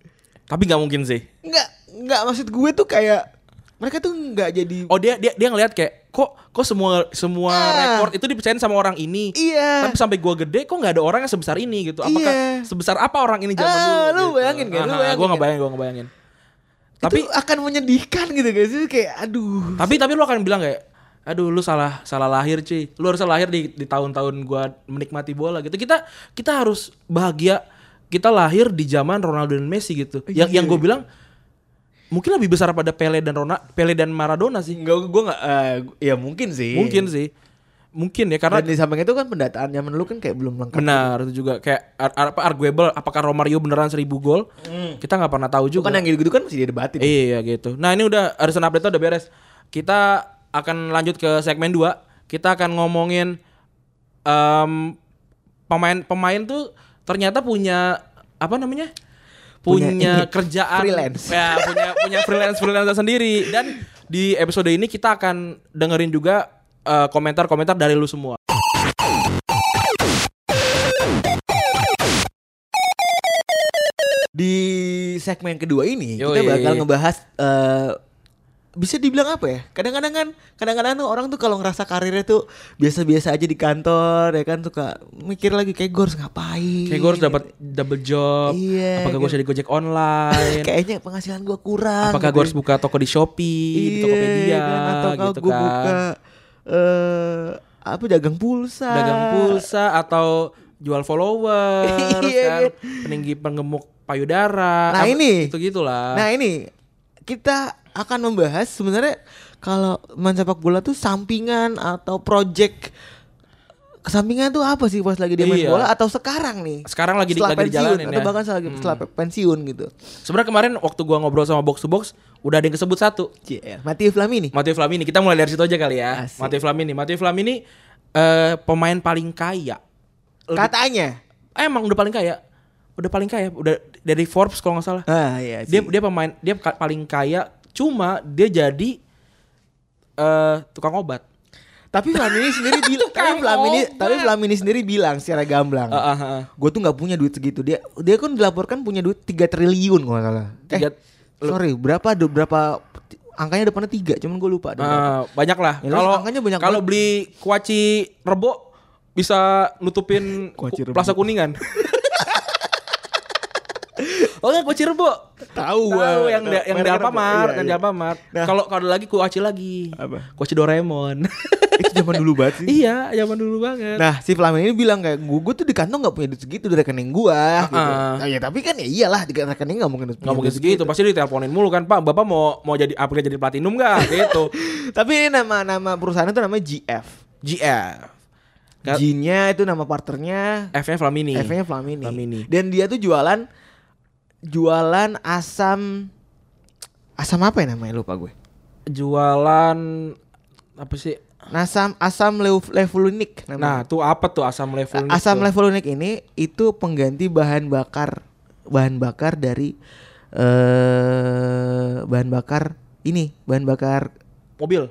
[SPEAKER 3] *laughs*
[SPEAKER 2] tapi nggak mungkin sih
[SPEAKER 3] nggak nggak maksud gue tuh kayak mereka tuh nggak jadi
[SPEAKER 2] Oh dia dia dia ngelihat kayak kok kok semua semua
[SPEAKER 3] Ah.
[SPEAKER 2] rekor itu dipercayain sama orang ini.
[SPEAKER 3] Iya.
[SPEAKER 2] Tapi sampai gua gede kok nggak ada orang yang sebesar ini gitu. Apakah
[SPEAKER 3] Iya.
[SPEAKER 2] sebesar apa orang ini zaman
[SPEAKER 3] Ah,
[SPEAKER 2] dulu?
[SPEAKER 3] lu
[SPEAKER 2] gitu.
[SPEAKER 3] bayangin nggak? Lu
[SPEAKER 2] Ah,
[SPEAKER 3] bayangin
[SPEAKER 2] Gua nggak
[SPEAKER 3] nggak?
[SPEAKER 2] bayangin, gua nggak bayangin.
[SPEAKER 3] tapi
[SPEAKER 2] Tapi
[SPEAKER 3] akan menyedihkan gitu guys Itu kayak aduh
[SPEAKER 2] tapi tapi lu akan bilang kayak aduh lu salah salah lahir cuy lu harus lahir di di tahun-tahun gua menikmati bola gitu kita kita harus bahagia kita lahir di zaman Ronaldo dan Messi gitu
[SPEAKER 3] Iya,
[SPEAKER 2] yang yang gue bilang mungkin lebih besar pada Pele dan Rona Pele dan Maradona sih
[SPEAKER 3] nggak gue nggak eh, ya mungkin sih
[SPEAKER 2] mungkin sih mungkin ya karena
[SPEAKER 3] dan di samping itu kan pendataan zaman lu kan kayak belum lengkap
[SPEAKER 2] Benar itu juga kayak ar- ar- apa arguable apakah Romario beneran 1000 gol? Kita nggak pernah tahu
[SPEAKER 3] Itu
[SPEAKER 2] juga.
[SPEAKER 3] kan yang gitu-gitu kan masih didebatin
[SPEAKER 2] Iya gitu. Nah, ini udah Arisan update udah beres. Kita akan lanjut ke segmen 2. Kita akan ngomongin em, pemain-pemain tuh ternyata punya apa namanya?
[SPEAKER 3] Punya
[SPEAKER 2] punya
[SPEAKER 3] ini,
[SPEAKER 2] kerjaan
[SPEAKER 3] freelance.
[SPEAKER 2] ya punya punya freelance freelancer sendiri dan di episode ini kita akan dengerin juga eh, komentar-komentar dari lu semua
[SPEAKER 3] di segmen kedua ini
[SPEAKER 2] Yoi.
[SPEAKER 3] kita bakal ngebahas eh, bisa dibilang apa ya? Kadang-kadang kan, kadang-kadang tuh orang tuh kalau ngerasa karirnya tuh biasa-biasa aja di kantor ya kan suka mikir lagi kayak gue harus ngapain.
[SPEAKER 2] Kayak gue harus dapat double job.
[SPEAKER 3] Iya,
[SPEAKER 2] apakah gue
[SPEAKER 3] kayak-
[SPEAKER 2] harus jadi Gojek online?
[SPEAKER 3] Eh, kayaknya penghasilan gue kurang. gitu
[SPEAKER 2] apakah gue
[SPEAKER 3] ya.
[SPEAKER 2] harus buka toko di Shopee, di
[SPEAKER 3] Iya,
[SPEAKER 2] Tokopedia
[SPEAKER 3] kan? atau kalau
[SPEAKER 2] gitu
[SPEAKER 3] gue
[SPEAKER 2] kan.
[SPEAKER 3] buka eh apa dagang pulsa.
[SPEAKER 2] Dagang pulsa atau jual followers
[SPEAKER 3] *laughs* Iya,
[SPEAKER 2] kan.
[SPEAKER 3] kan?
[SPEAKER 2] Peninggi penggemuk payudara.
[SPEAKER 3] Nah, ini.
[SPEAKER 2] gitu-gitulah.
[SPEAKER 3] Nah ini kita akan membahas sebenarnya kalau main sepak bola tuh sampingan atau project kesampingan tuh apa sih pas lagi dia main
[SPEAKER 2] Iya.
[SPEAKER 3] bola atau sekarang nih?
[SPEAKER 2] Sekarang lagi di-
[SPEAKER 3] setelah
[SPEAKER 2] lagi
[SPEAKER 3] pensiun
[SPEAKER 2] dijalanin
[SPEAKER 3] atau
[SPEAKER 2] ya.
[SPEAKER 3] bahkan setelah, setelah pensiun gitu.
[SPEAKER 2] Sebenarnya kemarin waktu gua ngobrol sama box to box udah ada yang kesebut satu.
[SPEAKER 3] Cier. Mati Flamini.
[SPEAKER 2] Matteo Flamini. Kita mulai dari situ aja kali ya.
[SPEAKER 3] Asik.
[SPEAKER 2] Matteo Flamini. Matteo Flamini eh, pemain paling kaya. Lebih-
[SPEAKER 3] Katanya.
[SPEAKER 2] eh, emang udah paling kaya. Udah paling kaya. Udah dari Forbes kalau nggak salah.
[SPEAKER 3] Ah iya sih.
[SPEAKER 2] dia dia pemain dia ka- paling kaya cuma dia jadi eh tukang obat
[SPEAKER 3] tapi Flamini sendiri
[SPEAKER 2] *laughs*
[SPEAKER 3] bilang tapi Flamini tapi Flamini sendiri bilang secara
[SPEAKER 6] Hmm.
[SPEAKER 3] gamblang.
[SPEAKER 2] Ah, ah,
[SPEAKER 6] Eh.
[SPEAKER 2] ah.
[SPEAKER 3] Gue tuh nggak punya duit segitu. Dia dia kan dilaporkan punya duit 3 triliun kalau nggak salah.
[SPEAKER 2] Tiga-
[SPEAKER 3] eh, sorry, berapa berapa
[SPEAKER 6] Ah.
[SPEAKER 3] angkanya depannya 3, cuman gue lupa. ada berapa.
[SPEAKER 2] Eh, banyak lah
[SPEAKER 3] Ya, lu
[SPEAKER 2] kalau
[SPEAKER 3] angkanya banyak
[SPEAKER 2] kalau
[SPEAKER 3] banget.
[SPEAKER 2] beli kuaci rebo bisa nutupin ku-
[SPEAKER 6] Kuaci rebuk.
[SPEAKER 2] plaza
[SPEAKER 6] *laughs*
[SPEAKER 2] kuningan. Oh enggak kuaci rebo.
[SPEAKER 6] Tahu eh,
[SPEAKER 2] Tahu yang di, yang di
[SPEAKER 6] merek
[SPEAKER 2] Alfamart,
[SPEAKER 6] Iya,
[SPEAKER 2] yang di
[SPEAKER 6] iya.
[SPEAKER 2] Alfamart. Kalau kalau ada lagi kuaci lagi.
[SPEAKER 6] Apa? *laughs*
[SPEAKER 2] Kuaci Doraemon.
[SPEAKER 6] Itu zaman dulu banget sih.
[SPEAKER 2] *laughs* iya, zaman dulu banget.
[SPEAKER 3] Nah si Flamen ini bilang kayak gue, tuh di kantong gak punya duit segitu dari rekening gue
[SPEAKER 6] Ah,
[SPEAKER 3] gitu.
[SPEAKER 2] Heeh.
[SPEAKER 3] Nah, ya tapi kan ya iyalah di rekening gak mungkin punya
[SPEAKER 2] Nggak mungkin
[SPEAKER 3] duit
[SPEAKER 2] segitu, pasti diteleponin mulu kan, Pak. Bapak mau mau jadi upgrade jadi
[SPEAKER 3] *laughs*
[SPEAKER 2] platinum enggak gitu.
[SPEAKER 3] Tapi ini nama nama perusahaan itu namanya GF.
[SPEAKER 2] GF. Nggak-
[SPEAKER 3] G-nya itu nama partnernya,
[SPEAKER 2] F-nya Flamini.
[SPEAKER 3] F-nya Flamini.
[SPEAKER 2] Flamini.
[SPEAKER 3] Dan dia tuh jualan jualan asam asam apa ya namanya lupa gue.
[SPEAKER 2] Jualan apa sih?
[SPEAKER 3] Asam asam leuf- levulinic
[SPEAKER 2] Nah,
[SPEAKER 3] namanya.
[SPEAKER 2] tuh apa tuh asam level
[SPEAKER 3] asam levulinic ini itu pengganti bahan bakar bahan bakar dari eh bahan bakar ini, bahan bakar
[SPEAKER 2] mobil.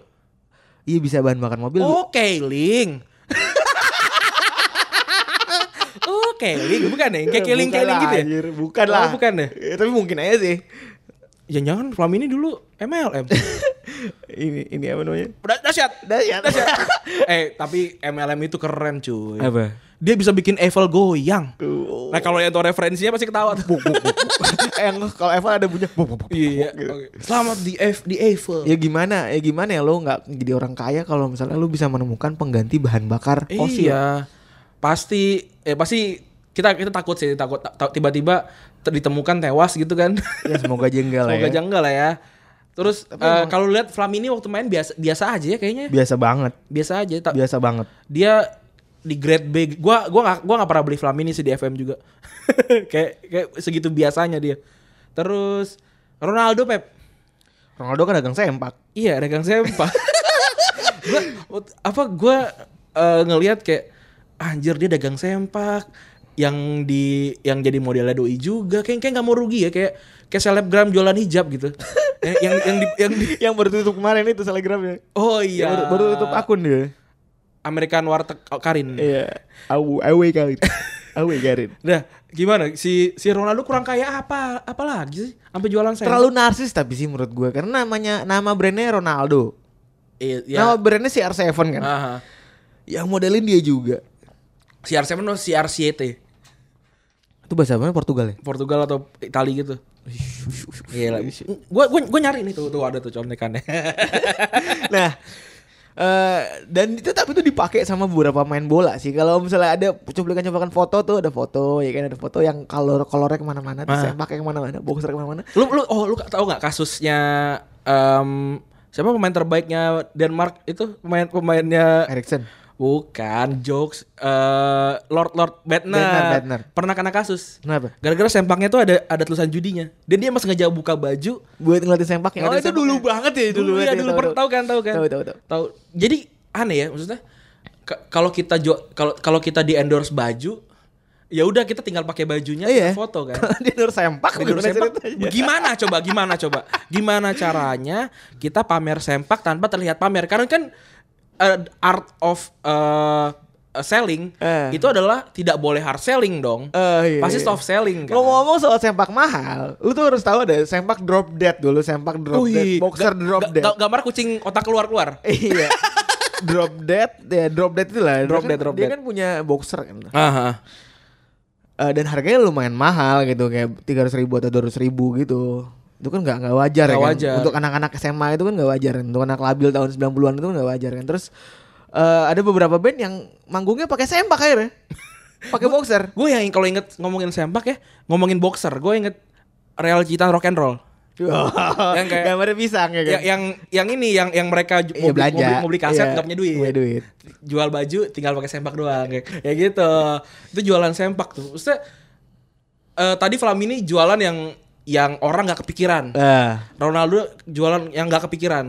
[SPEAKER 3] iya bisa bahan bakar mobil.
[SPEAKER 2] Oh, keling. *laughs* oh, keling bukan ya? Kayak keling-keling gitu ya?
[SPEAKER 3] Anjir, bukan lah.
[SPEAKER 2] Oh, bukan ya?
[SPEAKER 3] Ya, tapi mungkin aja sih.
[SPEAKER 2] Jangan-jangan Flamini dulu
[SPEAKER 3] *laughs*
[SPEAKER 2] MLM.
[SPEAKER 3] Ini ini apa namanya?
[SPEAKER 2] Udah dahsyat.
[SPEAKER 3] Dahsyat. *laughs*
[SPEAKER 2] eh, tapi MLM itu keren cuy.
[SPEAKER 6] Apa?
[SPEAKER 2] Dia bisa bikin Eiffel goyang. Nah, kalau yang tau referensinya pasti ketawa. tuh.
[SPEAKER 3] yang Eh, kalau Eva ada punya
[SPEAKER 2] *laughs* Iya. oke. Selamat di F di Eiffel.
[SPEAKER 3] ya gimana ya gimana ya lo nggak jadi orang kaya kalau misalnya lo bisa menemukan pengganti bahan bakar fosil
[SPEAKER 2] Iya. Pasti eh pasti kita kita takut sih takut ta- ta- tiba-tiba ter- ditemukan tewas gitu *laughs* kan.
[SPEAKER 3] ya semoga jenggal
[SPEAKER 2] Semoga
[SPEAKER 3] ya
[SPEAKER 2] janggal lah ya. Terus eh, kalau lihat Flamini waktu main biasa biasa aja ya kayaknya.
[SPEAKER 3] biasa banget
[SPEAKER 2] Biasa aja. Ta-
[SPEAKER 3] biasa banget
[SPEAKER 2] Dia di grade B. Gua gua gak, gua gak pernah beli Flamini sih di FM juga. *laughs* kayak kayak segitu biasanya dia. Terus Ronaldo Pep.
[SPEAKER 3] Ronaldo kan dagang sempak
[SPEAKER 2] Iya dagang sempak. gua, wak- apa gue eh, ngelihat kayak anjir dia dagang sempak yang di yang jadi modelnya doi juga kayak kayak nggak mau rugi ya kayak kayak selebgram jualan hijab gitu yang yang yang, di, yang di-
[SPEAKER 3] yang baru tutup kemarin itu selebgram ya
[SPEAKER 2] oh iya
[SPEAKER 3] baru, baru tutup akun dia
[SPEAKER 2] American Warteg oh, Karin
[SPEAKER 3] iya awu awe kali awe Karin
[SPEAKER 2] Nah, gimana si si Ronaldo kurang kaya apa apa lagi sih sampai jualan sempak
[SPEAKER 3] terlalu narsis tapi sih menurut gue karena namanya nama brandnya Ronaldo
[SPEAKER 2] Iya, iya.
[SPEAKER 3] nama brandnya CR7 kan
[SPEAKER 2] Aha.
[SPEAKER 3] yang modelin dia juga
[SPEAKER 2] CR7 atau CRCT
[SPEAKER 3] itu bahasa apa Portugal ya
[SPEAKER 2] Portugal atau Italia gitu. Gila. Gua gua gua nyari nih tuh tuh ada tuh contekannya.
[SPEAKER 3] *laughs*
[SPEAKER 2] *laughs*
[SPEAKER 3] Nah, eh dan itu tapi itu dipakai sama beberapa pemain bola sih. Kalau misalnya ada cuplikan-cuplikan foto tuh ada foto, ya kan ada foto yang kalau kolornya kemana-mana, terus
[SPEAKER 2] Ah.
[SPEAKER 3] yang pakai kemana-mana, boxer kemana-mana.
[SPEAKER 2] lu lu oh lu tahu nggak kasusnya em, siapa pemain terbaiknya Denmark itu pemain pemainnya
[SPEAKER 3] Erikson.
[SPEAKER 2] bukan jokes eh Lord Lord
[SPEAKER 3] Bednar,
[SPEAKER 2] Bednar
[SPEAKER 3] Bednar.
[SPEAKER 2] pernah kena kasus.
[SPEAKER 3] Kenapa?
[SPEAKER 2] Gara-gara sempaknya tuh ada ada tulisan judinya. Dan dia emang sengaja buka baju
[SPEAKER 3] Buat ngeliatin sempaknya. Oh,
[SPEAKER 2] Ngeliatin
[SPEAKER 3] itu dulu
[SPEAKER 2] sempaknya.
[SPEAKER 3] banget ya dulu.
[SPEAKER 2] dulu
[SPEAKER 3] banget
[SPEAKER 2] ya dulu per- tahu kan tahu kan
[SPEAKER 3] Tahu, tahu, tahu.
[SPEAKER 2] jadi aneh ya maksudnya ka- kalau kita jual kalau kalau kita di endorse baju ya udah kita tinggal pakai bajunya
[SPEAKER 3] Iya.
[SPEAKER 2] kita foto
[SPEAKER 3] *laughs*
[SPEAKER 2] kan
[SPEAKER 3] Dia nur sempak,
[SPEAKER 2] Endorse
[SPEAKER 3] gimana
[SPEAKER 2] sempak,
[SPEAKER 3] ceritanya?
[SPEAKER 2] gimana coba gimana coba gimana caranya kita pamer sempak tanpa terlihat pamer karena kan eh, art of eh, eh, selling
[SPEAKER 3] Eh.
[SPEAKER 2] itu adalah tidak boleh hard selling dong
[SPEAKER 3] Eh, iya, iya.
[SPEAKER 2] pasti soft selling kan
[SPEAKER 3] Ngomong-ngomong soal sempak mahal, lu tuh harus tahu ada sempak drop dead dulu, sempak drop
[SPEAKER 2] Wih,
[SPEAKER 3] dead, boxer
[SPEAKER 2] ga-
[SPEAKER 3] drop
[SPEAKER 2] ga-
[SPEAKER 3] dead.
[SPEAKER 2] ga- gambar kucing otak keluar keluar
[SPEAKER 3] Iya.
[SPEAKER 2] *laughs*
[SPEAKER 3] drop dead, ya drop dead itu lah. Dia
[SPEAKER 2] Drop
[SPEAKER 3] kan-
[SPEAKER 2] dead, drop
[SPEAKER 3] dia
[SPEAKER 2] dead.
[SPEAKER 3] kan punya boxer kan.
[SPEAKER 2] Aha.
[SPEAKER 3] Eh, dan harganya lumayan mahal gitu kayak tiga ribu atau dua ribu gitu itu kan nggak nggak wajar
[SPEAKER 2] Nggak
[SPEAKER 3] ya kan?
[SPEAKER 2] wajar.
[SPEAKER 3] untuk anak-anak SMA itu kan nggak wajar kan? untuk anak labil tahun 90-an itu kan nggak wajar kan terus eh, ada beberapa band yang manggungnya pakai sempak akhirnya
[SPEAKER 2] *laughs*
[SPEAKER 3] pakai boxer
[SPEAKER 2] Gue yang kalau inget ngomongin sempak ya, ngomongin boxer, gue inget Real Cita Rock and Roll.
[SPEAKER 3] yang
[SPEAKER 2] kayak-
[SPEAKER 3] Oh. gambarnya pisang ya kan
[SPEAKER 2] Ya- yang yang ini yang yang mereka ju-
[SPEAKER 3] Iya,
[SPEAKER 2] mau, beli- mau, beli, mau beli kaset
[SPEAKER 3] Iya,
[SPEAKER 2] nggak punya duit.
[SPEAKER 3] punya duit
[SPEAKER 2] Jual baju tinggal pakai sempak doang kayak, kayak gitu. Itu jualan sempak tuh. Maksudnya eh, tadi Flamini jualan yang yang orang nggak kepikiran.
[SPEAKER 3] Eh,
[SPEAKER 2] Ronaldo jualan yang nggak kepikiran.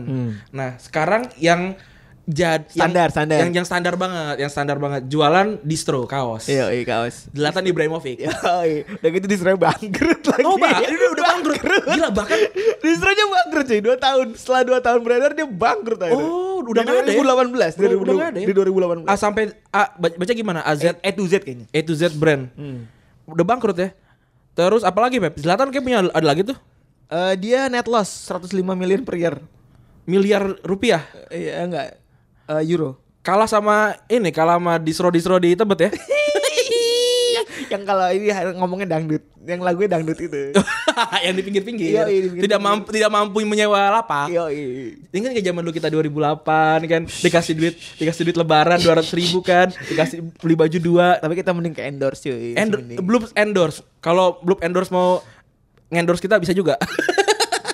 [SPEAKER 2] Nah, sekarang yang jadi
[SPEAKER 3] Hmm. Standar, standar.
[SPEAKER 2] yang yang standar banget, yang standar banget jualan distro kaos.
[SPEAKER 3] iya iya kaos
[SPEAKER 2] Zlatan Ibrahimovic.
[SPEAKER 3] Yoi, udah gitu diserang bangkrut lagi.
[SPEAKER 2] Oh, bah, udah, udah bangkrut. Gila, bahkan
[SPEAKER 3] Distronya bangkrut cuy, 2 tahun. Setelah 2 tahun beredar dia bangkrut akhirnya.
[SPEAKER 2] Oh, udah
[SPEAKER 3] Di
[SPEAKER 2] nggak ada ya?
[SPEAKER 3] 2018,
[SPEAKER 2] Udah- udah nggak ada ya?
[SPEAKER 3] Di 2018.
[SPEAKER 2] A sampai A ba- baca gimana? A Z
[SPEAKER 3] A to Z kayaknya. Hmm.
[SPEAKER 2] A to Z brand. Udah bangkrut ya. Terus apalagi Pep? Zlatan kayak punya ada lagi tuh.
[SPEAKER 3] Eh, dia net loss 105 million per year.
[SPEAKER 2] Miliar rupiah.
[SPEAKER 3] Eh, Iya enggak. Eh, euro.
[SPEAKER 2] kalah sama ini kalah sama disro disro di tebet ya
[SPEAKER 3] *laughs*
[SPEAKER 2] *laughs*
[SPEAKER 3] yang kalau ini ngomongnya dangdut, yang lagunya dangdut
[SPEAKER 2] *laughs*
[SPEAKER 3] itu.
[SPEAKER 2] yang di pinggir pinggir
[SPEAKER 3] Iya, iya, di pinggir-pinggir. Iya.
[SPEAKER 2] tidak mampu tidak mampu menyewa lapak
[SPEAKER 3] Yo, i-
[SPEAKER 2] Ingat gak zaman dulu kita 2008 kan dikasih duit dikasih duit lebaran 200 ribu kan dikasih beli baju dua
[SPEAKER 3] tapi kita mending ke endorse cuy.
[SPEAKER 2] Endo-
[SPEAKER 3] mending.
[SPEAKER 2] belum endorse kalau belum endorse mau endorse kita bisa juga *laughs*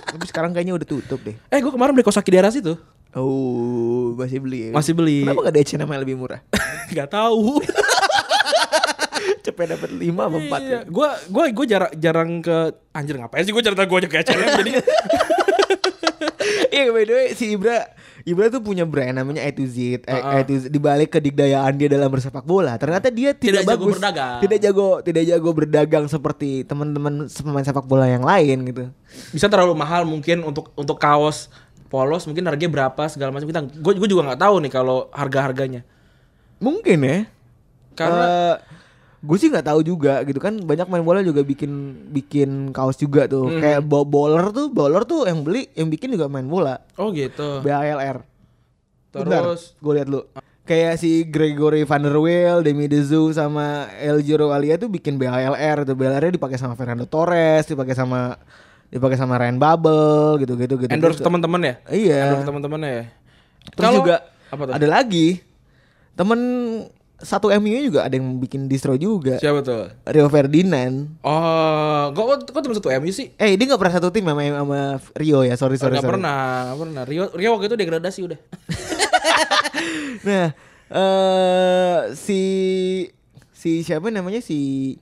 [SPEAKER 3] Tapi sekarang kayaknya udah tutup deh.
[SPEAKER 2] eh gue kemarin beli kosaki di daerah situ
[SPEAKER 3] Oh, masih beli. ya?
[SPEAKER 2] Masih beli.
[SPEAKER 3] Kenapa gak ada H&M yang lebih murah?
[SPEAKER 2] *laughs*
[SPEAKER 3] *laughs*
[SPEAKER 2] nggak tahu
[SPEAKER 3] Cepet dapat 5 apa 4 ya.
[SPEAKER 2] gue gue gue jarang jarang ke anjir ngapain sih gue cerita gue aja ke
[SPEAKER 3] *laughs*
[SPEAKER 2] H&M jadi
[SPEAKER 3] Iya by the way si Ibra Ibra tuh punya brand namanya A to Z, A, A to Z dibalik kedikdayaan dia dalam bersepak bola. Ternyata dia tidak,
[SPEAKER 2] Tidak jago
[SPEAKER 3] bagus,
[SPEAKER 2] berdagang.
[SPEAKER 3] tidak jago, tidak jago berdagang seperti teman-teman pemain sepak bola yang lain gitu.
[SPEAKER 2] bisa terlalu mahal mungkin untuk untuk kaos polos mungkin harganya berapa segala macam kita gue gue juga nggak tahu nih kalau harga harganya
[SPEAKER 3] Mungkin ya.
[SPEAKER 2] karena
[SPEAKER 3] Karena gue sih nggak tahu juga gitu kan banyak main bola juga bikin bikin kaos juga tuh. Kayak bo- bowler tuh, bowler tuh yang beli, yang bikin juga main bola.
[SPEAKER 2] oh gitu
[SPEAKER 3] BALR.
[SPEAKER 2] terus
[SPEAKER 3] gue lihat lu. Kayak si Gregory Van der Weel, Demi Dezu sama El Giro Alia tuh bikin BLR tuh. BLR-nya dipakai sama Fernando Torres, dipakai sama dipakai sama Ryan Bubble gitu-gitu gitu.
[SPEAKER 2] endorse
[SPEAKER 3] gitu.
[SPEAKER 2] teman-teman ya
[SPEAKER 3] Iya.
[SPEAKER 2] endorse teman-temannya ya
[SPEAKER 3] Terus juga
[SPEAKER 2] apa tuh?
[SPEAKER 3] ada lagi temen satu MU -nya juga ada yang bikin distro juga.
[SPEAKER 2] siapa tuh
[SPEAKER 3] Rio Ferdinand.
[SPEAKER 2] oh kok kok- kok cuma satu MU sih
[SPEAKER 3] Eh, dia nggak pernah satu tim sama, sama Rio ya. Sorry, sorry,
[SPEAKER 2] Gak
[SPEAKER 3] sorry.
[SPEAKER 2] pernah, nggak pernah. Rio, Rio waktu itu degradasi udah.
[SPEAKER 3] Nah, eh si si siapa namanya si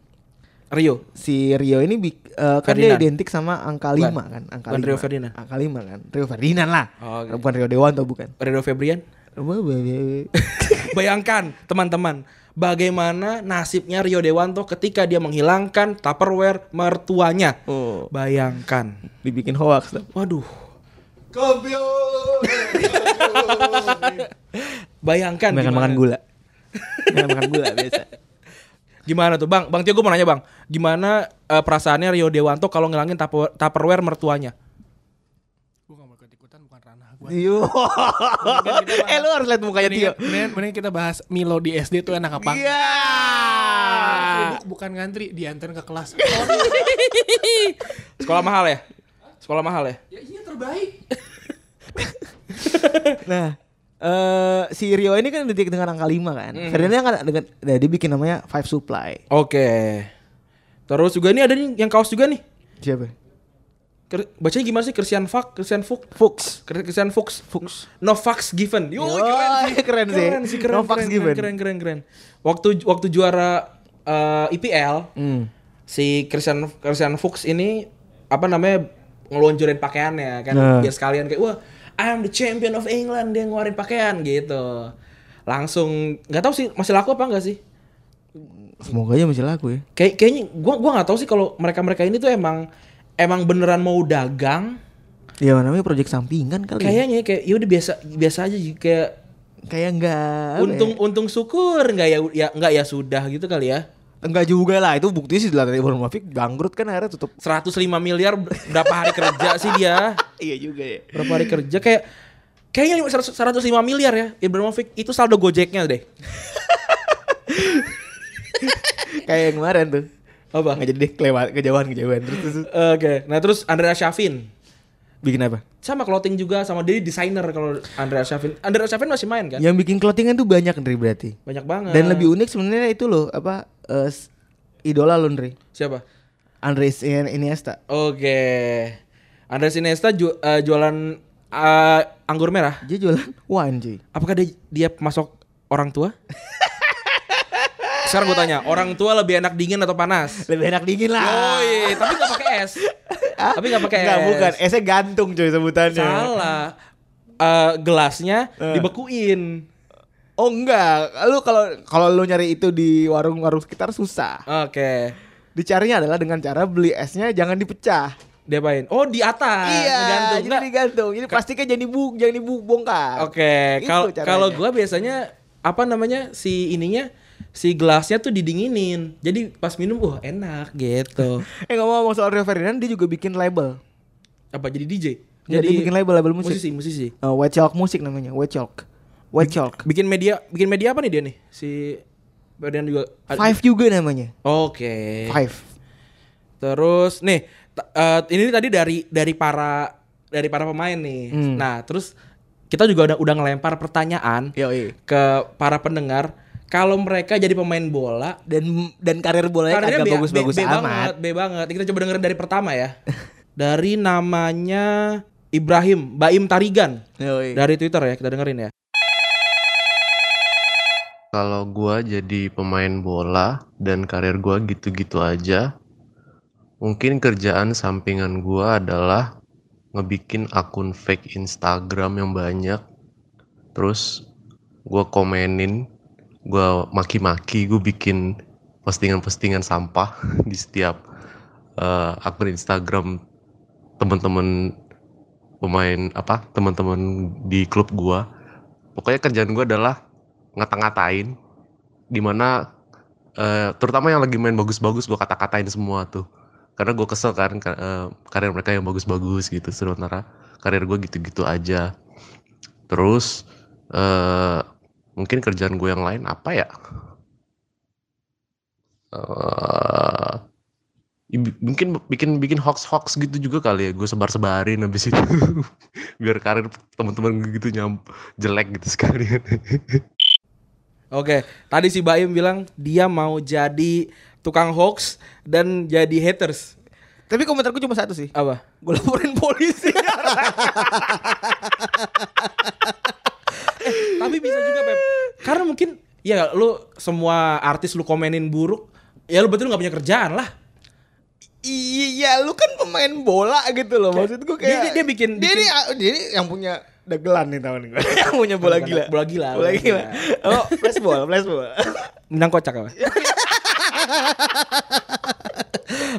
[SPEAKER 2] Rio.
[SPEAKER 3] si Rio ini bik- eh, kan dia
[SPEAKER 2] Ferdinand.
[SPEAKER 3] identik sama angka
[SPEAKER 2] Bukan.
[SPEAKER 3] 5 kan, angka
[SPEAKER 2] Bukan
[SPEAKER 3] lima.
[SPEAKER 2] Rio Ferdinand.
[SPEAKER 3] Angka 5 kan. Rio Ferdinand lah.
[SPEAKER 2] Oh, oke.
[SPEAKER 3] Bukan Rio Dewanto bukan.
[SPEAKER 2] Rio
[SPEAKER 3] *laughs*
[SPEAKER 2] Febrian.
[SPEAKER 3] Wah, wah, wah,
[SPEAKER 2] *laughs*
[SPEAKER 3] wah.
[SPEAKER 2] Bayangkan teman-teman, bagaimana nasibnya Rio Dewanto ketika dia menghilangkan Tupperware mertuanya.
[SPEAKER 3] Oh.
[SPEAKER 2] Bayangkan.
[SPEAKER 3] Dibikin hoax tuh.
[SPEAKER 2] Waduh. Bayangkan
[SPEAKER 3] Makan
[SPEAKER 2] gimana.
[SPEAKER 3] makan gula. Makan makan
[SPEAKER 2] *laughs*
[SPEAKER 3] gula biasa.
[SPEAKER 2] Gimana tuh Bang? Bang Tio gue mau nanya Bang Gimana eh, perasaannya Rio Dewanto kalau ngilangin tupper- Tupperware mertuanya?
[SPEAKER 3] Tio. *laughs* eh lu harus lihat mukanya Tio.
[SPEAKER 7] Mendingan, kan, mendingan- mendingan kita bahas Milo di SD tuh enak apa?
[SPEAKER 3] Iya.
[SPEAKER 7] Sibuk bukan ngantri, diantar ke kelas. Oh,
[SPEAKER 2] Sekolah mahal ya? Sekolah mahal ya?
[SPEAKER 3] Nah, eh si Rio ini kan identik dengan angka 5 kan.
[SPEAKER 2] Hmm.
[SPEAKER 3] Ferdinand kan dengan nah, dia bikin namanya Five Supply.
[SPEAKER 2] Oke. Terus juga ini ada nih yang kaos juga nih.
[SPEAKER 3] Siapa?
[SPEAKER 2] Ker- Bacanya gimana sih? Christian Fuck, Christian Fuck,
[SPEAKER 3] Fuchs.
[SPEAKER 2] Kr- Christian Fuchs, Fuchs. No fucks given. Yo,
[SPEAKER 3] Yo,
[SPEAKER 2] Oh, keren, sih.
[SPEAKER 3] keren sih.
[SPEAKER 2] Keren sih, keren,
[SPEAKER 3] No fucks
[SPEAKER 2] keren,
[SPEAKER 3] given.
[SPEAKER 2] Keren, keren, keren. Waktu waktu juara eh, IPL,
[SPEAKER 3] Hmm.
[SPEAKER 2] si Christian Christian Fuchs ini apa namanya ngelonjorin pakaiannya kan
[SPEAKER 3] Nah.
[SPEAKER 2] biar sekalian kayak wah I'm the champion of England dia ngeluarin pakaian gitu. Langsung nggak tahu sih masih laku apa enggak sih?
[SPEAKER 3] Semoga aja masih laku ya.
[SPEAKER 2] Kayak kayaknya gua gua nggak tahu sih kalau mereka-mereka ini tuh emang emang beneran mau dagang
[SPEAKER 3] Ya namanya project sampingan kali. ya.
[SPEAKER 2] kayaknya kayak ya udah biasa biasa aja sih, kayak
[SPEAKER 3] kayak enggak apa
[SPEAKER 2] untung
[SPEAKER 3] ya?
[SPEAKER 2] untung syukur nggak ya ya nggak ya sudah gitu kali ya
[SPEAKER 3] enggak juga lah itu bukti sih Zlatan Ibrahimovic bangkrut kan akhirnya tutup
[SPEAKER 2] 105 miliar ber- berapa hari kerja sih dia
[SPEAKER 3] iya juga ya
[SPEAKER 2] berapa hari kerja kayak kayaknya lima- 100 105 miliar ya Ibrahimovic itu saldo gojeknya deh
[SPEAKER 3] kayak yang kemarin tuh
[SPEAKER 2] apa
[SPEAKER 3] nggak jadi deh kelewat kejauhan kejauhan terus, terus, terus.
[SPEAKER 2] oke nah terus Andrea Syafin
[SPEAKER 3] bikin apa
[SPEAKER 2] sama clothing juga sama dia desainer kalau Andrea Syafin Andrea Syafin masih main kan
[SPEAKER 3] yang bikin clothingan tuh banyak Ndri berarti
[SPEAKER 2] banyak banget
[SPEAKER 3] Iya. dan lebih unik sebenarnya itu loh apa eh, s- idola lo Ndri
[SPEAKER 2] siapa
[SPEAKER 3] Andres Iniesta
[SPEAKER 2] oke Andrea Sinesta ju- eh, jualan eh, anggur merah
[SPEAKER 3] dia jualan wine cuy
[SPEAKER 2] Apakah dia dia masuk orang tua? Sekarang gue tanya, orang tua lebih enak dingin atau panas?
[SPEAKER 3] lebih enak dingin lah
[SPEAKER 2] Yoi, tapi gak pakai es. tapi gak pakai es.
[SPEAKER 3] Enggak Oh, iya. bukan esnya gantung cuy sebutannya
[SPEAKER 2] Salah. Eh, gelasnya
[SPEAKER 3] Eh.
[SPEAKER 2] dibekuin.
[SPEAKER 3] oh enggak lu kalau kalau lu nyari itu di warung-warung sekitar susah
[SPEAKER 2] Oke.
[SPEAKER 3] Dicarinya adalah dengan cara beli esnya jangan dipecah.
[SPEAKER 2] Diapain? Oh, di atas.
[SPEAKER 3] iya,
[SPEAKER 2] Gantung.
[SPEAKER 3] jadi digantung. Jadi plastiknya jangan dibu jangan dibongkar. Nah,
[SPEAKER 2] Oke,
[SPEAKER 3] Itu
[SPEAKER 2] kalau
[SPEAKER 3] caranya.
[SPEAKER 2] kalau gua biasanya apa namanya si ininya si gelasnya tuh didinginin. Jadi pas minum, wah enak
[SPEAKER 3] *laughs*
[SPEAKER 2] gitu.
[SPEAKER 3] Eh ngomong-ngomong soal Rio Ferdinand, dia juga bikin label.
[SPEAKER 2] apa jadi DJ?
[SPEAKER 3] Jadi, bikin label label musik.
[SPEAKER 2] musisi, musisi.
[SPEAKER 3] Eh, White Chalk musik namanya, White Chalk.
[SPEAKER 6] White Chalk.
[SPEAKER 2] Bikin media, bikin media apa nih dia nih? Si badan juga ad-
[SPEAKER 6] Five juga namanya.
[SPEAKER 2] Oke.
[SPEAKER 6] Five.
[SPEAKER 2] Terus nih t- eh, ini tadi dari dari para dari para pemain nih.
[SPEAKER 6] Hmm.
[SPEAKER 2] Nah, terus kita juga udah udah ngelempar pertanyaan
[SPEAKER 6] Yoi.
[SPEAKER 2] ke para pendengar kalau mereka jadi pemain bola
[SPEAKER 6] Dan dan karir bolanya
[SPEAKER 2] Karena
[SPEAKER 6] kagak bagus-bagus
[SPEAKER 2] banget,
[SPEAKER 6] amat.
[SPEAKER 2] B banget. Kita coba dengerin dari pertama ya. dari namanya Ibrahim Baim Tarigan
[SPEAKER 6] Yoi.
[SPEAKER 2] dari Twitter ya, kita dengerin ya.
[SPEAKER 8] Kalau gua jadi pemain bola dan karir gua gitu-gitu aja, mungkin kerjaan sampingan gua adalah ngebikin akun fake Instagram yang banyak. Terus gua komenin, gua maki-maki, gua bikin postingan-postingan sampah *laughs* di setiap eh, akun Instagram temen-temen pemain apa teman-teman di klub gua. Pokoknya kerjaan gua adalah ngata-ngatain dimana eh, terutama yang lagi main bagus-bagus gue kata-katain semua tuh karena gue kesel kan ka- eh, karir mereka yang bagus-bagus gitu sementara karir gue gitu-gitu aja terus eh mungkin kerjaan gue yang lain apa ya Eh, i- mungkin bikin bikin hoax hoax gitu juga kali ya gue sebar sebarin habis itu *laughs* biar karir teman-teman gue gitu nyam jelek gitu sekalian
[SPEAKER 2] Oke, tadi si Baim bilang dia mau jadi tukang hoax dan jadi haters.
[SPEAKER 6] Tapi komentar gue cuma satu sih.
[SPEAKER 2] Apa? Eh,
[SPEAKER 6] Gue laporin
[SPEAKER 2] *laughs*
[SPEAKER 6] polisi.
[SPEAKER 2] Tapi bisa juga, Pep. Karena mungkin ya lu semua artis lu komenin buruk, ya lu betul nggak punya kerjaan lah.
[SPEAKER 3] Iya, lu kan pemain bola gitu loh. Maksud gue
[SPEAKER 2] Dia-
[SPEAKER 3] kayak
[SPEAKER 2] dia- dia bikin-
[SPEAKER 3] Dia ini
[SPEAKER 2] bikin-
[SPEAKER 3] ah, dia ini yang punya dagelan nih tahun
[SPEAKER 2] *laughs*
[SPEAKER 3] gue. yang punya bola
[SPEAKER 2] Bukan,
[SPEAKER 3] gila.
[SPEAKER 2] bola gila,
[SPEAKER 3] Bola
[SPEAKER 2] bola
[SPEAKER 3] gila. Oh, flashball, flashball.
[SPEAKER 2] Menang kocak apa?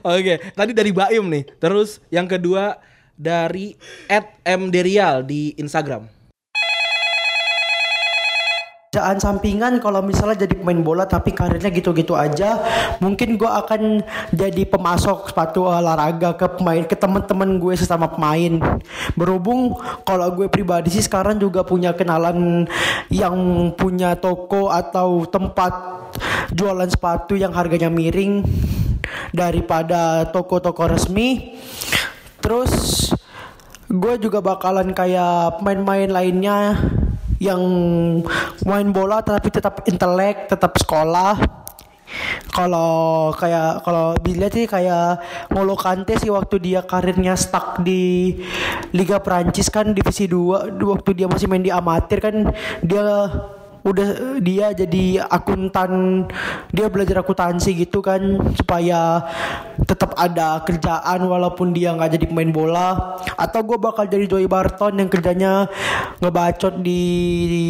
[SPEAKER 2] Oke, tadi dari Baim nih. Terus yang kedua dari @mderial di Instagram.
[SPEAKER 9] kerjaan sampingan kalau misalnya jadi pemain bola tapi karirnya gitu-gitu aja mungkin gue akan jadi pemasok sepatu olahraga ke pemain ke teman-teman gue sesama pemain berhubung kalau gue pribadi sih sekarang juga punya kenalan yang punya toko atau tempat jualan sepatu yang harganya miring daripada toko-toko resmi terus gue juga bakalan kayak pemain-pemain lainnya yang main bola tapi tetap intelek, tetap sekolah. Kalau kayak kalau dilihat sih kayak Ngolo Kante sih waktu dia karirnya stuck di Liga Prancis kan divisi 2 waktu dia masih main di amatir kan dia udah eh, dia jadi akuntan dia belajar akuntansi gitu kan supaya tetap ada kerjaan walaupun dia nggak jadi pemain bola atau gue bakal jadi Joey Barton yang kerjanya ngebacot di, di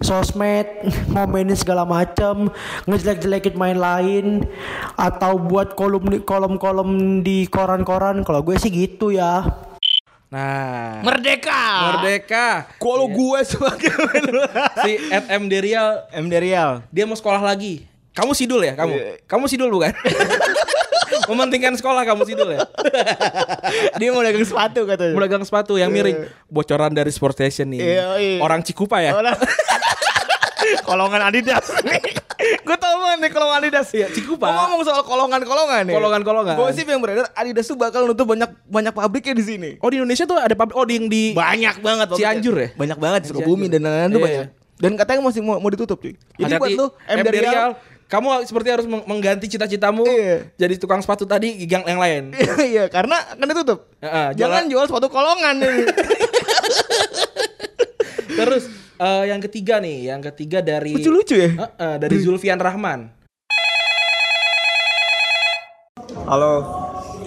[SPEAKER 9] sosmed *laughs* ngomenin segala macam ngejelek-jelekin main lain atau buat kolom di kolom-kolom di koran-koran kalau gue sih gitu ya
[SPEAKER 2] Nah,
[SPEAKER 3] Merdeka.
[SPEAKER 2] Merdeka.
[SPEAKER 3] Kalau gue sebagai pemain bola.
[SPEAKER 2] Si @mderial
[SPEAKER 6] M dari Real.
[SPEAKER 2] dia mau sekolah lagi. Kamu sidul
[SPEAKER 3] Iya.
[SPEAKER 2] ya kamu? Kamu
[SPEAKER 3] *laughs*
[SPEAKER 2] sidul bukan? Mementingkan sekolah kamu sidul ya?
[SPEAKER 3] *laughs* dia mau dagang sepatu katanya.
[SPEAKER 2] Pedagang sepatu yang miring. Bocoran dari Sport Station nih.
[SPEAKER 3] Iya, iya.
[SPEAKER 2] Orang Cikupa ya?
[SPEAKER 3] Orang- *laughs* kolongan Adidas nih. Gue tau banget nih kolongan Adidas
[SPEAKER 2] Iya, Cikupa.
[SPEAKER 3] Gua ngomong soal kolongan-kolongan nih.
[SPEAKER 2] Kolongan-kolongan.
[SPEAKER 3] Gosip yang beredar Adidas tuh bakal nutup banyak banyak pabriknya di sini.
[SPEAKER 2] Oh di Indonesia tuh ada pabrik oh di yang di
[SPEAKER 3] *laughs* Banyak banget pokoknya.
[SPEAKER 2] Cianjur ya?
[SPEAKER 3] Banyak banget Sukabumi dan lain-lain tuh
[SPEAKER 2] Iya,
[SPEAKER 3] banyak.
[SPEAKER 2] iya.
[SPEAKER 3] Dan katanya masih mau, mau ditutup cuy. Jadi
[SPEAKER 2] Hati-hati,
[SPEAKER 3] buat lu M dari Riau,
[SPEAKER 2] kamu seperti harus meng- mengganti cita-citamu
[SPEAKER 3] Iya.
[SPEAKER 2] jadi tukang sepatu tadi yang yang lain.
[SPEAKER 3] *laughs* Iya, karena kan ditutup.
[SPEAKER 2] Heeh,
[SPEAKER 3] Jangan jual sepatu *laughs* kolongan nih.
[SPEAKER 2] Terus eh, yang ketiga nih, yang ketiga dari
[SPEAKER 3] Lucu-lucu ya.
[SPEAKER 2] Eh, eh, dari Zulfian Rahman.
[SPEAKER 10] Halo,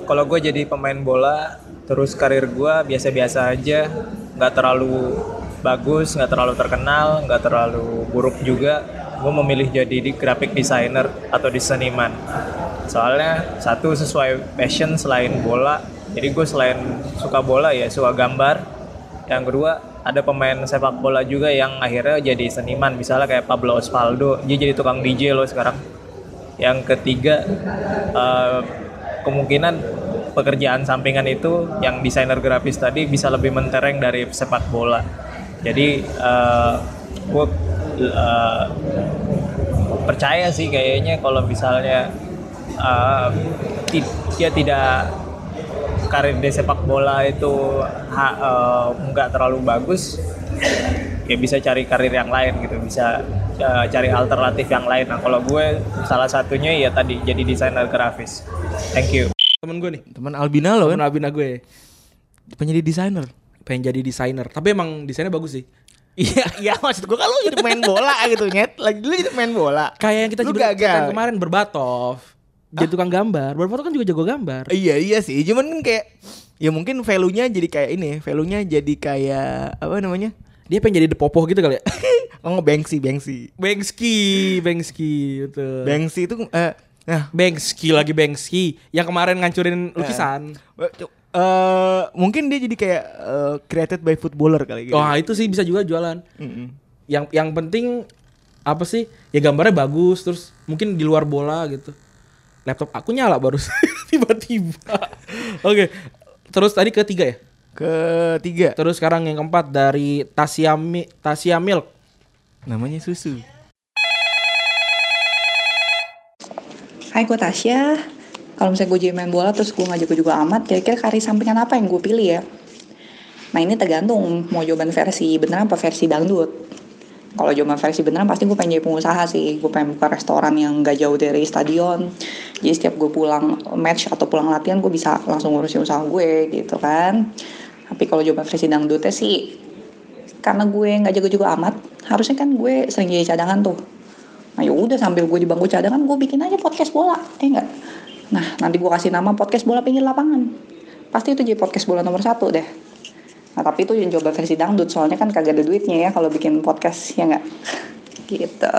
[SPEAKER 10] kalau gue jadi pemain bola, terus karir gue biasa-biasa aja, nggak terlalu bagus, nggak terlalu terkenal, nggak terlalu buruk juga. Gue memilih jadi di graphic designer atau di seniman. Soalnya satu sesuai passion selain bola, jadi gue selain suka bola ya suka gambar. Yang kedua ada pemain sepak bola juga yang akhirnya jadi seniman, misalnya kayak Pablo Osvaldo, dia jadi tukang DJ loh sekarang yang ketiga eh, kemungkinan pekerjaan sampingan itu yang desainer grafis tadi bisa lebih mentereng dari sepak bola jadi eh, gue percaya sih kayaknya kalau misalnya eh, ti- dia tidak karir di sepak bola itu ha- eh, nggak terlalu bagus ya bisa cari karir yang lain gitu bisa eh, cari alternatif yang lain nah kalau gue salah satunya ya tadi jadi desainer grafis thank you
[SPEAKER 2] Temen gue nih,
[SPEAKER 3] Teman Albina lo
[SPEAKER 2] temen
[SPEAKER 3] kan
[SPEAKER 2] Abina gue
[SPEAKER 3] penjadi desainer.
[SPEAKER 2] pengen jadi desainer. Tapi emang desainnya bagus
[SPEAKER 3] *laughs*
[SPEAKER 2] sih.
[SPEAKER 11] Iya, iya maksud
[SPEAKER 3] kan
[SPEAKER 11] gua kalau jadi main bola gitu nyet, lagi dulu jadi main bola.
[SPEAKER 2] Kayak yang kita
[SPEAKER 11] Lu gagal.
[SPEAKER 2] juga ceritain kemarin berbatov. Jadi
[SPEAKER 3] Ah.
[SPEAKER 2] tukang gambar. Berbatov kan juga jago gambar.
[SPEAKER 3] Eh.
[SPEAKER 11] Iya iya sih, cuman kan kayak
[SPEAKER 3] Ya mungkin value-nya jadi kayak ini, value-nya jadi kayak apa namanya?
[SPEAKER 2] Dia pengen jadi depopoh
[SPEAKER 3] *laughs*
[SPEAKER 2] gitu kali ya.
[SPEAKER 3] Oh, Banksy, Banksy.
[SPEAKER 2] Bengski, Bengski gitu.
[SPEAKER 3] Banksy itu eh nah
[SPEAKER 2] Bengski lagi Bengski yang kemarin ngancurin lukisan.
[SPEAKER 3] eh mungkin dia jadi kayak eh, created by footballer kali gitu.
[SPEAKER 2] Wah, itu sih bisa juga jualan. Yang yang penting apa sih? Ya gambarnya bagus terus mungkin di luar bola gitu. Laptop aku nyala baru *laughs* tiba-tiba. Oke. Terus tadi ketiga ya?
[SPEAKER 3] Ketiga,
[SPEAKER 2] Terus sekarang yang keempat dari Tasiami Tasia Milk.
[SPEAKER 3] namanya susu.
[SPEAKER 12] Hai gue Tasya Kalau misalnya gue jadi main bola terus gue ngajak jago-jago amat Kira-kira karir sampingan apa yang gue pilih ya Nah ini tergantung mau jawaban versi beneran apa versi dangdut Kalau jawaban versi beneran pasti gue pengen jadi pengusaha sih Gue pengen buka restoran yang gak jauh dari stadion Jadi setiap gue pulang match atau pulang latihan gue bisa langsung ngurusin usaha gue gitu kan Tapi kalau jawaban versi dangdutnya sih karena gue nggak jago-jago amat, harusnya kan gue sering jadi cadangan tuh. Nah yaudah sambil gue di bangku cadangan gue bikin aja podcast bola, eh enggak. Nah nanti gue kasih nama podcast bola pinggir lapangan. Pasti itu jadi podcast bola nomor satu deh. Nah tapi itu yang coba versi dangdut, soalnya kan kagak ada duitnya ya kalau bikin podcast ya enggak. *laughs* Gitu.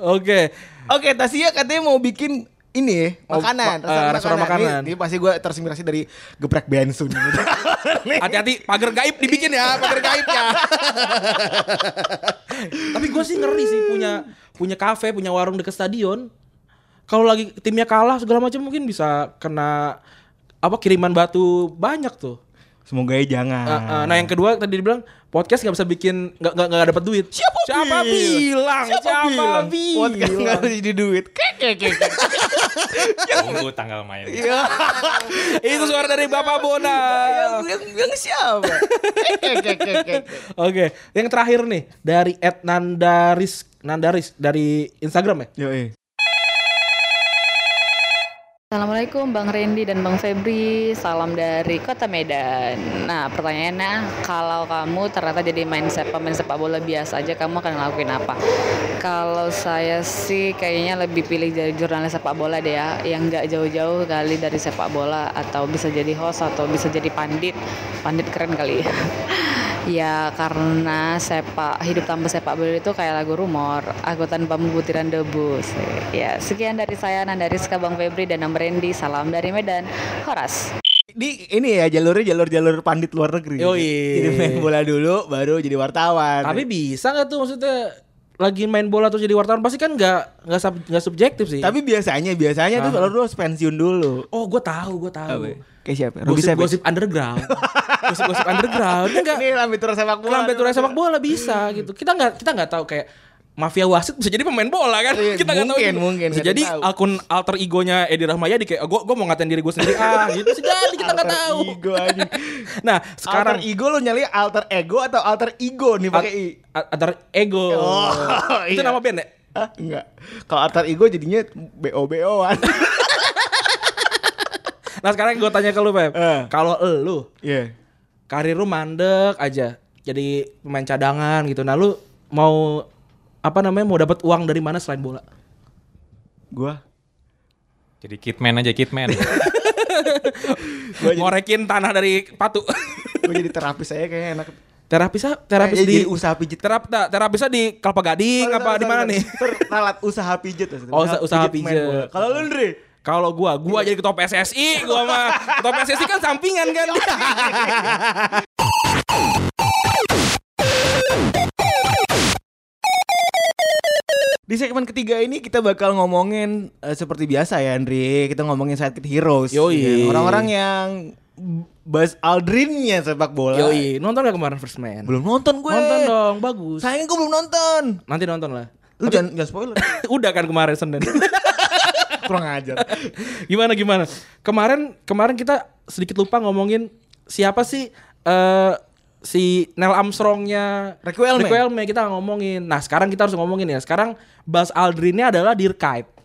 [SPEAKER 2] Oke.
[SPEAKER 3] Oke, Tasya katanya mau bikin ini ya,
[SPEAKER 2] Mau
[SPEAKER 3] makanan,
[SPEAKER 2] ma- eh, restoran makanan.
[SPEAKER 3] Ini, ini pasti gue terinspirasi dari geprek Bensun.
[SPEAKER 2] Hati-hati pagar gaib dibikin ya, pagar gaib ya. Tapi gue sih ngeri sih punya punya kafe, punya warung dekat stadion. Kalau lagi timnya kalah segala macam mungkin bisa kena apa kiriman batu banyak tuh.
[SPEAKER 3] *laughs* Semoga ya jangan.
[SPEAKER 2] Eh, eh, nah yang kedua tadi dibilang podcast nggak bisa bikin nggak nggak nggak dapat duit. Siapa, bilang? Siapa, bilang?
[SPEAKER 3] Podcast nggak harus jadi duit.
[SPEAKER 13] Tunggu tanggal main.
[SPEAKER 2] Itu suara dari Bapak Bona.
[SPEAKER 3] Yang, yang siapa?
[SPEAKER 2] Oke, yang terakhir nih dari Ed Nandaris Nandaris dari Instagram ya.
[SPEAKER 3] Yoi.
[SPEAKER 12] Assalamualaikum Bang Randy dan Bang Febri Salam dari Kota Medan Nah pertanyaannya Kalau kamu ternyata jadi main sepak Main sepak bola biasa aja Kamu akan ngelakuin apa? Kalau saya sih Kayaknya lebih pilih jadi jurnalis sepak bola deh ya Yang nggak jauh-jauh kali dari sepak bola Atau bisa jadi host Atau bisa jadi pandit Pandit keren kali *laughs* ya Ya karena sepak hidup tanpa sepak bola itu kayak lagu rumor Aku tanpa butiran debu Ya sekian dari saya Nandariska Bang Febri dan Nam Randy Salam dari Medan Horas
[SPEAKER 3] Di ini ya jalurnya jalur-jalur pandit luar negeri.
[SPEAKER 2] Yoi.
[SPEAKER 3] Jadi main bola dulu, baru jadi wartawan.
[SPEAKER 2] Tapi bisa nggak tuh maksudnya lagi main bola terus jadi wartawan pasti kan nggak nggak sub- nggak subjektif sih.
[SPEAKER 3] tapi biasanya biasanya tuh
[SPEAKER 2] Ah.
[SPEAKER 3] selalu harus pensiun dulu.
[SPEAKER 2] oh gue tahu gue tahu.
[SPEAKER 3] Kayak siapa? Ruby Savage.
[SPEAKER 2] Gosip-gosip
[SPEAKER 3] *laughs*
[SPEAKER 2] underground. Gosip-gosip underground. Ini nggak
[SPEAKER 3] Ini lambe tur sepak bola.
[SPEAKER 2] Lambe turun sepak bola bisa gitu. Kita nggak kita nggak tahu kayak mafia wasit bisa jadi pemain bola kan?
[SPEAKER 3] Iya,
[SPEAKER 2] kita nggak tahu.
[SPEAKER 3] mungkin,
[SPEAKER 2] juga.
[SPEAKER 3] mungkin,
[SPEAKER 2] Bisa
[SPEAKER 3] nggak
[SPEAKER 2] jadi
[SPEAKER 3] tahu.
[SPEAKER 2] akun alter egonya Edi Rahmayadi kayak gue gue mau ngatain diri gue sendiri ah gitu sih jadi kita nggak tahu.
[SPEAKER 3] Ego aja.
[SPEAKER 2] *laughs* Nah
[SPEAKER 3] Sekarang
[SPEAKER 2] sekarang
[SPEAKER 3] alter ego lo nyali alter ego atau alter ego nih pakai i.
[SPEAKER 2] A- alter ego.
[SPEAKER 3] Oh,
[SPEAKER 2] *laughs* Itu
[SPEAKER 3] iya.
[SPEAKER 2] nama band ya?
[SPEAKER 3] Ah, enggak. Kalau alter ego jadinya
[SPEAKER 2] *laughs*
[SPEAKER 3] BO-BO-an.
[SPEAKER 2] Nah sekarang gue tanya ke lu Pep
[SPEAKER 3] Eh.
[SPEAKER 2] Kalau lu
[SPEAKER 3] Iya.
[SPEAKER 2] karir lu mandek aja Jadi pemain cadangan gitu Nah lu mau apa namanya mau dapat uang dari mana selain bola?
[SPEAKER 3] Gua
[SPEAKER 13] Jadi kitman aja kitman. *laughs*
[SPEAKER 3] gua jadi,
[SPEAKER 2] Ngorekin tanah dari patu. *laughs*
[SPEAKER 3] gua jadi terapis saya kayaknya enak.
[SPEAKER 2] terapisnya terapis
[SPEAKER 3] Kayaknya
[SPEAKER 2] di
[SPEAKER 3] jadi usaha pijit.
[SPEAKER 2] terap nah, terapisnya di Kelapa Gading
[SPEAKER 3] Sorry,
[SPEAKER 2] apa
[SPEAKER 3] sorry,
[SPEAKER 2] di mana
[SPEAKER 3] sorry.
[SPEAKER 2] nih?
[SPEAKER 3] Ter- Alat usaha pijit. maksudnya.
[SPEAKER 2] Oh, usaha- usaha
[SPEAKER 3] main
[SPEAKER 2] pijit.
[SPEAKER 3] bola. Kalau lu Ndri,
[SPEAKER 2] *laughs* Kalau gua, gua jadi ketua PSSI, gua mah ketua PSSI kan sampingan kan. *laughs*
[SPEAKER 3] di segmen ketiga ini kita bakal ngomongin eh, seperti biasa ya Ndri, kita ngomongin sidekick heroes.
[SPEAKER 2] Yoi.
[SPEAKER 3] Ya, Orang-orang yang Buzz Aldrinnya sepak bola.
[SPEAKER 2] Yoi, nonton gak kemarin First Man?
[SPEAKER 3] Belum nonton gue.
[SPEAKER 2] Nonton dong, bagus.
[SPEAKER 3] Sayangnya gue belum nonton.
[SPEAKER 2] Nanti nonton lah.
[SPEAKER 3] Lu jangan, jangan spoiler.
[SPEAKER 2] *laughs* Udah kan kemarin Senin.
[SPEAKER 3] *laughs*
[SPEAKER 2] *laughs*
[SPEAKER 3] Kurang ajar.
[SPEAKER 2] gimana gimana? Kemarin kemarin kita sedikit lupa ngomongin siapa sih eh si Neil Armstrongnya
[SPEAKER 3] Requelme.
[SPEAKER 2] Requelme kita nggak ngomongin. Nah sekarang kita harus ngomongin ya. Sekarang Buzz Aldrinnya adalah Dirk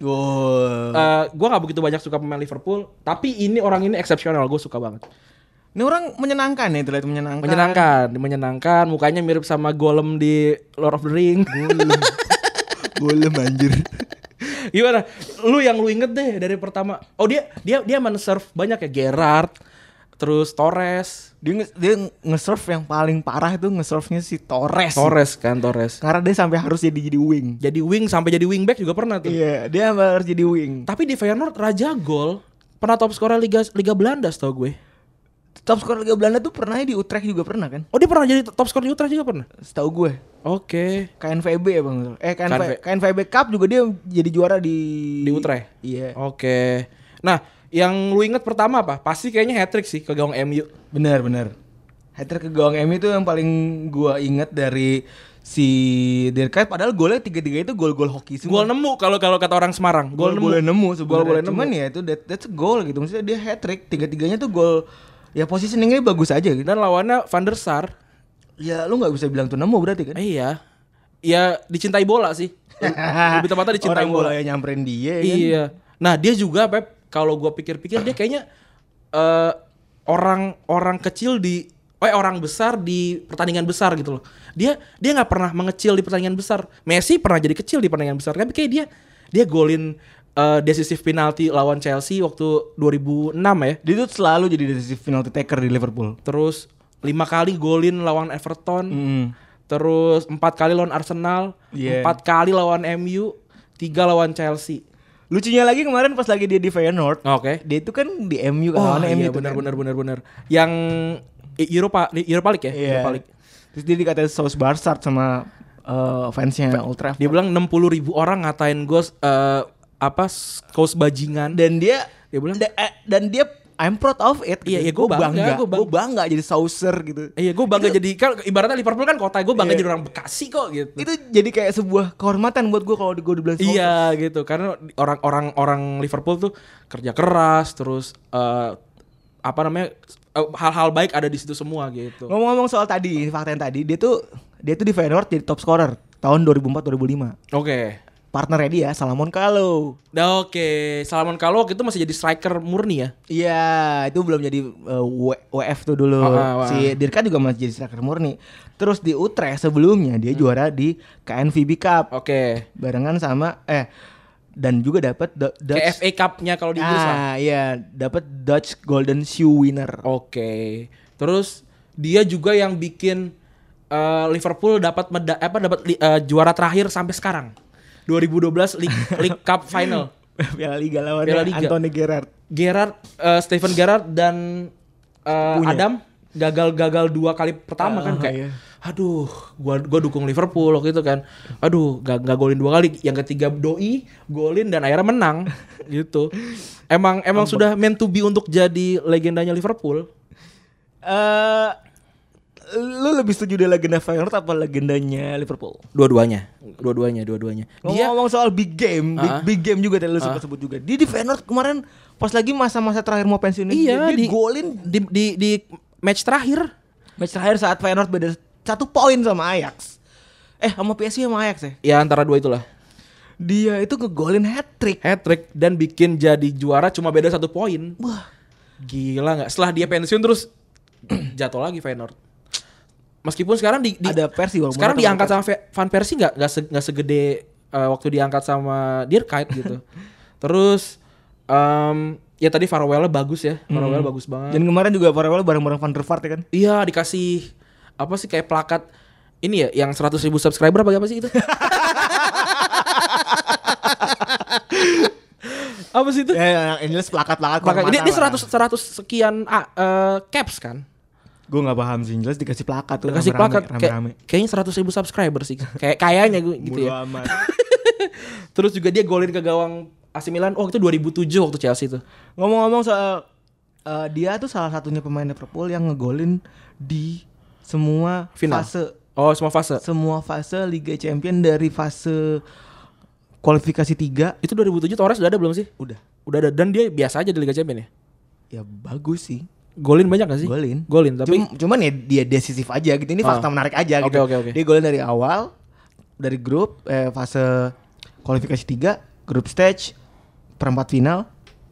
[SPEAKER 3] Wow.
[SPEAKER 2] Eh, gue gak begitu banyak suka pemain Liverpool, tapi ini orang ini eksepsional, gue suka banget.
[SPEAKER 3] Ini orang menyenangkan ya, terlihat menyenangkan.
[SPEAKER 2] Menyenangkan, menyenangkan, mukanya mirip sama Golem di Lord of the Ring. *laughs*
[SPEAKER 3] Golem anjir.
[SPEAKER 2] Gimana? Lu yang lu inget deh dari pertama. Oh dia dia dia men-serve banyak ya Gerard, terus Torres,
[SPEAKER 3] Dia nge dia nge-serve yang paling parah itu nge-serve-nya si Torres.
[SPEAKER 2] Torres kan Torres.
[SPEAKER 3] Karena dia sampai harus jadi jadi wing.
[SPEAKER 2] Jadi wing sampai jadi wingback juga pernah tuh.
[SPEAKER 3] Iya, dia sampai harus jadi wing.
[SPEAKER 2] Tapi di Feyenoord raja gol, pernah top scorer Liga Liga Belanda setahu gue.
[SPEAKER 3] Top skor Liga Belanda tuh pernah di Utrecht juga pernah kan?
[SPEAKER 2] Oh dia pernah jadi top scorer di Utrecht juga pernah.
[SPEAKER 3] Setahu gue.
[SPEAKER 2] Oke.
[SPEAKER 3] KNVB ya bang, eh KNV,
[SPEAKER 2] KNV.
[SPEAKER 3] KNVB Cup juga dia jadi juara di
[SPEAKER 2] Di Utrecht.
[SPEAKER 3] Iya,
[SPEAKER 2] Oke. Nah, yang lu inget pertama apa? Pasti kayaknya hat trick sih ke gawang MU.
[SPEAKER 3] benar benar. Hat-trick ke gawang MU itu yang paling gua inget dari si Dirkait. Padahal golnya tiga-tiga itu gol-gol hoki semua.
[SPEAKER 2] Gol nemu kalau kalau kata orang Semarang. Gol
[SPEAKER 3] gol boleh
[SPEAKER 2] nemu.
[SPEAKER 3] nemu sebenarnya.
[SPEAKER 2] Gol boleh nemu.
[SPEAKER 3] Cuman ya itu that, that's a goal gitu. Maksudnya dia hat trick, tiga-tiganya tuh gol ya positioningnya bagus aja gitu.
[SPEAKER 2] Dan lawannya Van der Sar.
[SPEAKER 3] Ya lu nggak bisa bilang tuh nemu berarti kan?
[SPEAKER 2] Eh, iya. Ya dicintai bola sih. Lebih tepatnya dicintai
[SPEAKER 3] Orang
[SPEAKER 2] bola.
[SPEAKER 3] bolanya nyamperin dia ya kan?
[SPEAKER 2] Iya. Nah, dia juga Pep kalau gua pikir-pikir dia kayaknya eh, orang orang kecil di eh orang besar di pertandingan besar gitu loh. Dia dia nggak pernah mengecil di pertandingan besar. Messi pernah jadi kecil di pertandingan besar, tapi kayak dia dia golin eh, decisive penalty lawan Chelsea waktu 2006 ya.
[SPEAKER 3] Dia tuh selalu jadi decisive penalty taker di Liverpool.
[SPEAKER 2] Terus lima kali golin lawan Everton. Terus empat kali lawan Arsenal,
[SPEAKER 3] Hmm. Iya.
[SPEAKER 2] empat kali lawan MU, tiga lawan Chelsea.
[SPEAKER 3] Lucunya lagi kemarin pas lagi dia di Feyenoord,
[SPEAKER 2] Oke.
[SPEAKER 3] dia itu kan di MU kan
[SPEAKER 2] Oh
[SPEAKER 3] lawannya
[SPEAKER 2] iya
[SPEAKER 3] MU tuh
[SPEAKER 2] benar
[SPEAKER 3] kan.
[SPEAKER 2] benar benar benar. Yang eh, Europa Europa League ya,
[SPEAKER 3] Iya.
[SPEAKER 2] Europa League.
[SPEAKER 3] Terus dia dikatain saus barsart sama eh, fansnya Old Trafford.
[SPEAKER 2] Dia bilang 60 ribu orang ngatain gue eh, apa kaos bajingan.
[SPEAKER 3] dan dia
[SPEAKER 2] Dia bilang-
[SPEAKER 3] da- eh, dan dia I'm proud of it. gitu.
[SPEAKER 2] Iya, iya,
[SPEAKER 3] Gua
[SPEAKER 2] gua bangga,
[SPEAKER 3] Gua
[SPEAKER 2] gua bangga.
[SPEAKER 3] bangga. jadi saucer gitu.
[SPEAKER 2] Iya, gue bangga jadi kan ibaratnya Liverpool kan kota gue bangga
[SPEAKER 3] Iya.
[SPEAKER 2] jadi orang Bekasi kok gitu.
[SPEAKER 3] Itu jadi kayak sebuah kehormatan buat gue kalau gue dibilang saucer.
[SPEAKER 2] Iya gitu karena orang-orang orang Liverpool tuh kerja keras terus eh, apa namanya eh, hal-hal baik ada di situ semua gitu.
[SPEAKER 3] Ngomong-ngomong soal tadi, fakta yang tadi, dia tuh dia tuh di Feyenoord jadi top scorer tahun 2004-2005.
[SPEAKER 2] Oke.
[SPEAKER 3] Partnernya dia Salamon Kalou.
[SPEAKER 2] Nah, oke, Salman Kalou waktu itu masih jadi striker murni ya.
[SPEAKER 3] Iya, itu belum jadi uh, W- WF tuh dulu.
[SPEAKER 2] Oh, ah, wah.
[SPEAKER 3] Si Dirka juga masih jadi striker murni. Terus di Utrecht sebelumnya
[SPEAKER 2] Hmm.
[SPEAKER 3] dia juara di KNVB Cup
[SPEAKER 2] Oke.
[SPEAKER 3] barengan sama eh dan juga dapat Do- Dutch
[SPEAKER 2] KFA Cup-nya kalau di Inggris lah.
[SPEAKER 3] Ah, iya, dapat Dutch Golden Shoe winner. *laughs*
[SPEAKER 2] Oke. Terus dia juga yang bikin eh, Liverpool dapat meda- apa dapat li- eh, juara terakhir sampai sekarang. 2012 League, League Cup Final.
[SPEAKER 3] Piala Liga lawan
[SPEAKER 2] Piala Liga.
[SPEAKER 3] Anthony Gerrard.
[SPEAKER 2] Gerard, eh, Steven Gerrard dan eh,
[SPEAKER 3] Punya.
[SPEAKER 2] Adam gagal-gagal dua kali pertama kan kayak.
[SPEAKER 3] iya.
[SPEAKER 2] Aduh, gua gua dukung Liverpool waktu itu kan. Aduh, gak, gak golin dua kali, yang ketiga doi golin dan akhirnya
[SPEAKER 3] *laughs*
[SPEAKER 2] menang gitu. Emang emang sudah meant to be untuk jadi legendanya Liverpool.
[SPEAKER 3] Eh lu lebih setuju dia legenda Feyenoord apa legendanya Liverpool?
[SPEAKER 2] Dua-duanya, dua-duanya, dua-duanya. Dia
[SPEAKER 3] Ngomong-ngomong soal big game, big,
[SPEAKER 2] Ah.
[SPEAKER 3] big game juga tadi lu sempat sebut juga. Dia di Feyenoord kemarin pas lagi masa-masa terakhir mau pensiun ini,
[SPEAKER 2] Iya,
[SPEAKER 3] dia, dia
[SPEAKER 2] di-
[SPEAKER 3] golin
[SPEAKER 2] di di di match terakhir
[SPEAKER 3] match terakhir saat Feyenoord beda satu poin sama Ajax. Eh sama PSV sama Ajax ya.
[SPEAKER 2] ya antara dua itulah
[SPEAKER 3] Dia itu ngegolin hat trick.
[SPEAKER 2] hat trick dan bikin jadi juara cuma beda satu poin
[SPEAKER 3] Wah,
[SPEAKER 2] gila nggak setelah dia pensiun terus *clears throat* jatuh lagi Feyenoord meskipun sekarang di, di-
[SPEAKER 3] Ada Persie walaupun
[SPEAKER 2] sekarang
[SPEAKER 3] ada
[SPEAKER 2] diangkat
[SPEAKER 3] Van
[SPEAKER 2] sama Fe- Van Persie nggak nggak se- nggak segede eh, waktu diangkat sama Dirkite gitu terus em, ya tadi farewell bagus ya farewell bagus banget
[SPEAKER 3] dan kemarin juga Farewell bareng-bareng Van der Vaart ya kan.
[SPEAKER 2] Iya dikasih apa sih kayak plakat ini ya yang 100.000 ribu subscriber apa apa sih
[SPEAKER 3] *laughs*
[SPEAKER 2] itu? apa sih itu?
[SPEAKER 3] Ya, ya, yang endless plakat-plakat
[SPEAKER 2] Plakat. Ini, ini 100 100 sekian ah, eh, caps kan?
[SPEAKER 3] Gue gak paham sih, jelas dikasih plakat tuh
[SPEAKER 2] Dikasih
[SPEAKER 3] rame-rame,
[SPEAKER 2] plakat kayak,
[SPEAKER 3] rame-rame.
[SPEAKER 2] kayaknya 100.000 ribu subscriber sih. Kayak kayaknya gue gitu
[SPEAKER 3] Bodo
[SPEAKER 2] ya.
[SPEAKER 3] amat.
[SPEAKER 2] *laughs* Terus juga dia golin ke gawang AC Milan. Oh itu 2007 waktu Chelsea itu.
[SPEAKER 3] Ngomong-ngomong soal eh, dia tuh salah satunya pemain Liverpool yang ngegolin di semua
[SPEAKER 2] Final.
[SPEAKER 3] fase.
[SPEAKER 2] Oh, semua fase.
[SPEAKER 3] Semua fase Liga Champion dari fase kualifikasi 3
[SPEAKER 2] itu 2007 Torres udah ada belum sih?
[SPEAKER 3] Udah.
[SPEAKER 2] Udah ada dan dia biasa aja di Liga Champion ya.
[SPEAKER 3] ya bagus sih.
[SPEAKER 2] Golin banyak gak sih?
[SPEAKER 3] Golin.
[SPEAKER 2] Golin tapi
[SPEAKER 3] Cum- cuman ya dia desisif aja gitu. Ini fakta
[SPEAKER 2] Ah.
[SPEAKER 3] menarik aja
[SPEAKER 2] Oke,
[SPEAKER 3] gitu.
[SPEAKER 2] oke, oke.
[SPEAKER 3] Dia golin dari awal dari grup eh, fase kualifikasi 3, grup stage, perempat final,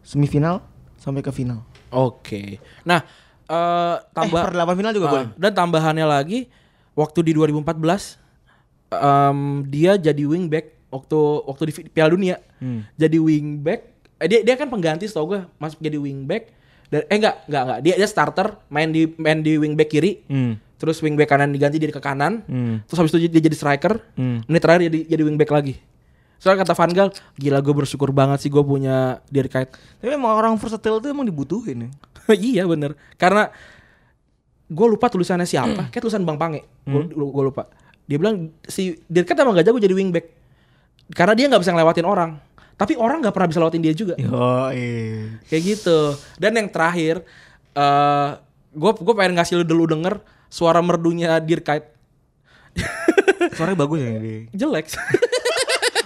[SPEAKER 3] semifinal sampai ke final.
[SPEAKER 2] Oke. Nah, eh tambah
[SPEAKER 3] Eh, perdelapan final juga
[SPEAKER 2] Ah,
[SPEAKER 3] boleh.
[SPEAKER 2] Dan tambahannya lagi waktu di 2014 em, dia jadi wingback waktu waktu di Piala Dunia.
[SPEAKER 3] Hmm.
[SPEAKER 2] Jadi wingback. Eh, dia dia kan pengganti setahu gue masuk jadi wingback. Dan eh enggak, enggak, enggak. Dia dia starter main di main di wingback kiri.
[SPEAKER 3] Hmm.
[SPEAKER 2] Terus wingback kanan diganti jadi ke kanan.
[SPEAKER 3] Hmm.
[SPEAKER 2] Terus habis itu dia jadi striker.
[SPEAKER 3] Hmm.
[SPEAKER 2] Menit terakhir jadi jadi wingback lagi. Soalnya kata Van Gaal, gila gue bersyukur banget sih gue punya Dirk Kuyt.
[SPEAKER 3] Tapi emang orang versatile tuh emang dibutuhin ya.
[SPEAKER 2] *laughs* iya bener Karena gue lupa tulisannya
[SPEAKER 3] *clears throat*
[SPEAKER 2] siapa Kayak tulisan Bang Pange Gue
[SPEAKER 3] Hmm.
[SPEAKER 2] lupa Dia bilang si Dirk Kuyt emang gak jago jadi wingback Karena dia gak bisa ngelewatin orang Tapi orang gak pernah bisa lewatin dia juga Kayak gitu Dan yang terakhir eh Gue gue pengen ngasih lu dulu denger Suara merdunya Dirk Kuyt
[SPEAKER 3] Suaranya bagus ya dia.
[SPEAKER 2] Jelek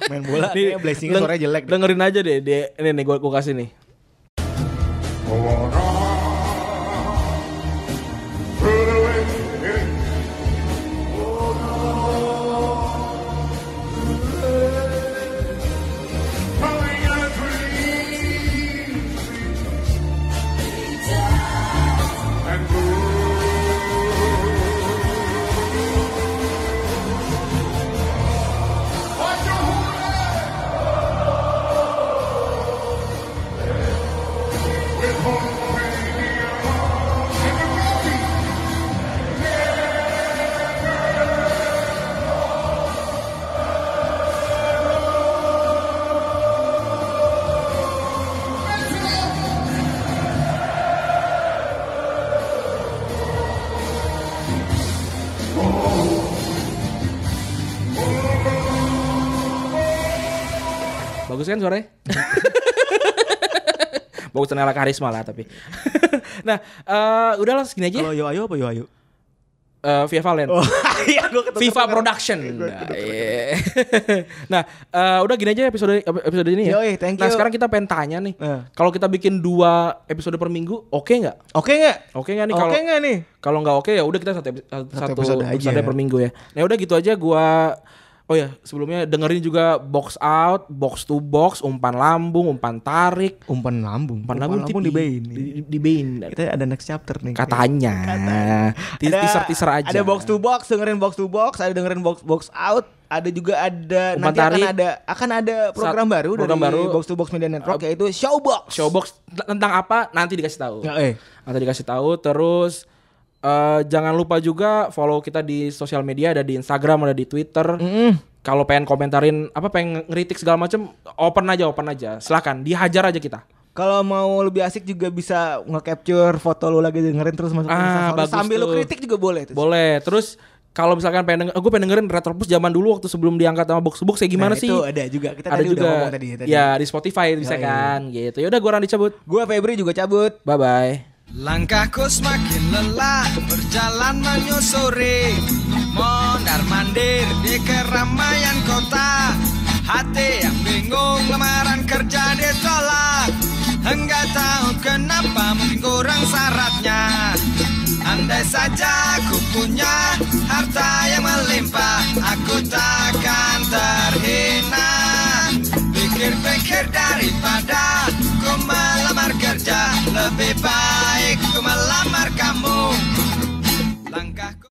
[SPEAKER 3] Main bola
[SPEAKER 2] Nih,
[SPEAKER 3] dia blessingnya
[SPEAKER 2] deng-
[SPEAKER 3] suaranya jelek. deh.
[SPEAKER 2] Dengerin aja deh, deh. Ini nih gue kasih nih Bagus kan
[SPEAKER 3] *laughs*
[SPEAKER 2] suaranya? Bagus Nela karisma lah tapi. *laughs* nah, eh udahlah segini aja.
[SPEAKER 3] Kalau yo ayo apa yo ayo?
[SPEAKER 2] Eh Via Valen.
[SPEAKER 3] Oh, *laughs* iya gua ketukar-
[SPEAKER 2] *laughs* Viva Production. iya. *laughs* nah, eh udah gini aja episode episode ini ya.
[SPEAKER 3] Yoi, thank
[SPEAKER 2] Nah,
[SPEAKER 3] you.
[SPEAKER 2] sekarang kita pengen tanya nih.
[SPEAKER 3] Eh.
[SPEAKER 2] Kalau kita bikin dua episode per minggu, oke nggak?
[SPEAKER 3] Oke nggak?
[SPEAKER 2] Oke nggak nih kalau
[SPEAKER 3] Oke nggak nih?
[SPEAKER 2] kalau nggak oke ya udah kita satu, epi- satu, satu episode,
[SPEAKER 3] episode aja ya.
[SPEAKER 2] per minggu ya. Nah udah gitu aja gua Oh ya, sebelumnya dengerin juga box out, box to box, umpan lambung, umpan tarik,
[SPEAKER 3] Umpan lambung.
[SPEAKER 2] umpan
[SPEAKER 3] di
[SPEAKER 2] lambung, di
[SPEAKER 3] Bain.
[SPEAKER 2] Di, di Bain.
[SPEAKER 3] Kita ada next chapter nih.
[SPEAKER 2] Katanya. Ti-
[SPEAKER 3] Ada-
[SPEAKER 2] Teaser-teaser aja.
[SPEAKER 3] Ada box to box, dengerin box to box, ada dengerin box box out, ada juga ada
[SPEAKER 2] Umpan
[SPEAKER 3] nanti
[SPEAKER 2] tarik.
[SPEAKER 3] akan ada akan ada program
[SPEAKER 2] Saat-
[SPEAKER 3] baru
[SPEAKER 2] program
[SPEAKER 3] dari
[SPEAKER 2] baru.
[SPEAKER 3] box to box media network yaitu Showbox.
[SPEAKER 2] Showbox t- tentang apa nanti dikasih tahu.
[SPEAKER 3] Ya, eh.
[SPEAKER 2] Nanti dikasih tahu terus eh, jangan lupa juga follow kita di sosial media ada di Instagram ada di Twitter. Kalau pengen komentarin apa pengen ngeritik segala macem open aja open aja. Silahkan dihajar aja kita.
[SPEAKER 3] Kalau mau lebih asik juga bisa nge-capture foto lu lagi dengerin terus masukin
[SPEAKER 2] Ah,
[SPEAKER 3] Instastory.
[SPEAKER 2] bagus
[SPEAKER 3] sambil lu
[SPEAKER 2] tuh.
[SPEAKER 3] kritik juga boleh tuh.
[SPEAKER 2] Boleh. Terus kalau misalkan pengen denger, gue pengen dengerin Retropus zaman dulu waktu sebelum diangkat sama Box to Box kayak gimana
[SPEAKER 3] Nah,
[SPEAKER 2] sih?
[SPEAKER 3] Itu ada juga. Kita
[SPEAKER 2] ada
[SPEAKER 3] tadi
[SPEAKER 2] juga.
[SPEAKER 3] udah ngomong tadi, tadi.
[SPEAKER 2] Ya di Spotify bisa
[SPEAKER 3] Yoi.
[SPEAKER 2] kan gitu. Yaudah gue orang dicabut.
[SPEAKER 3] Gua Febri juga cabut.
[SPEAKER 2] Bye bye.
[SPEAKER 9] Langkahku semakin lelah Berjalan menyusuri Mondar mandir di keramaian kota Hati yang bingung lamaran kerja ditolak Enggak tahu kenapa kurang syaratnya Andai saja ku punya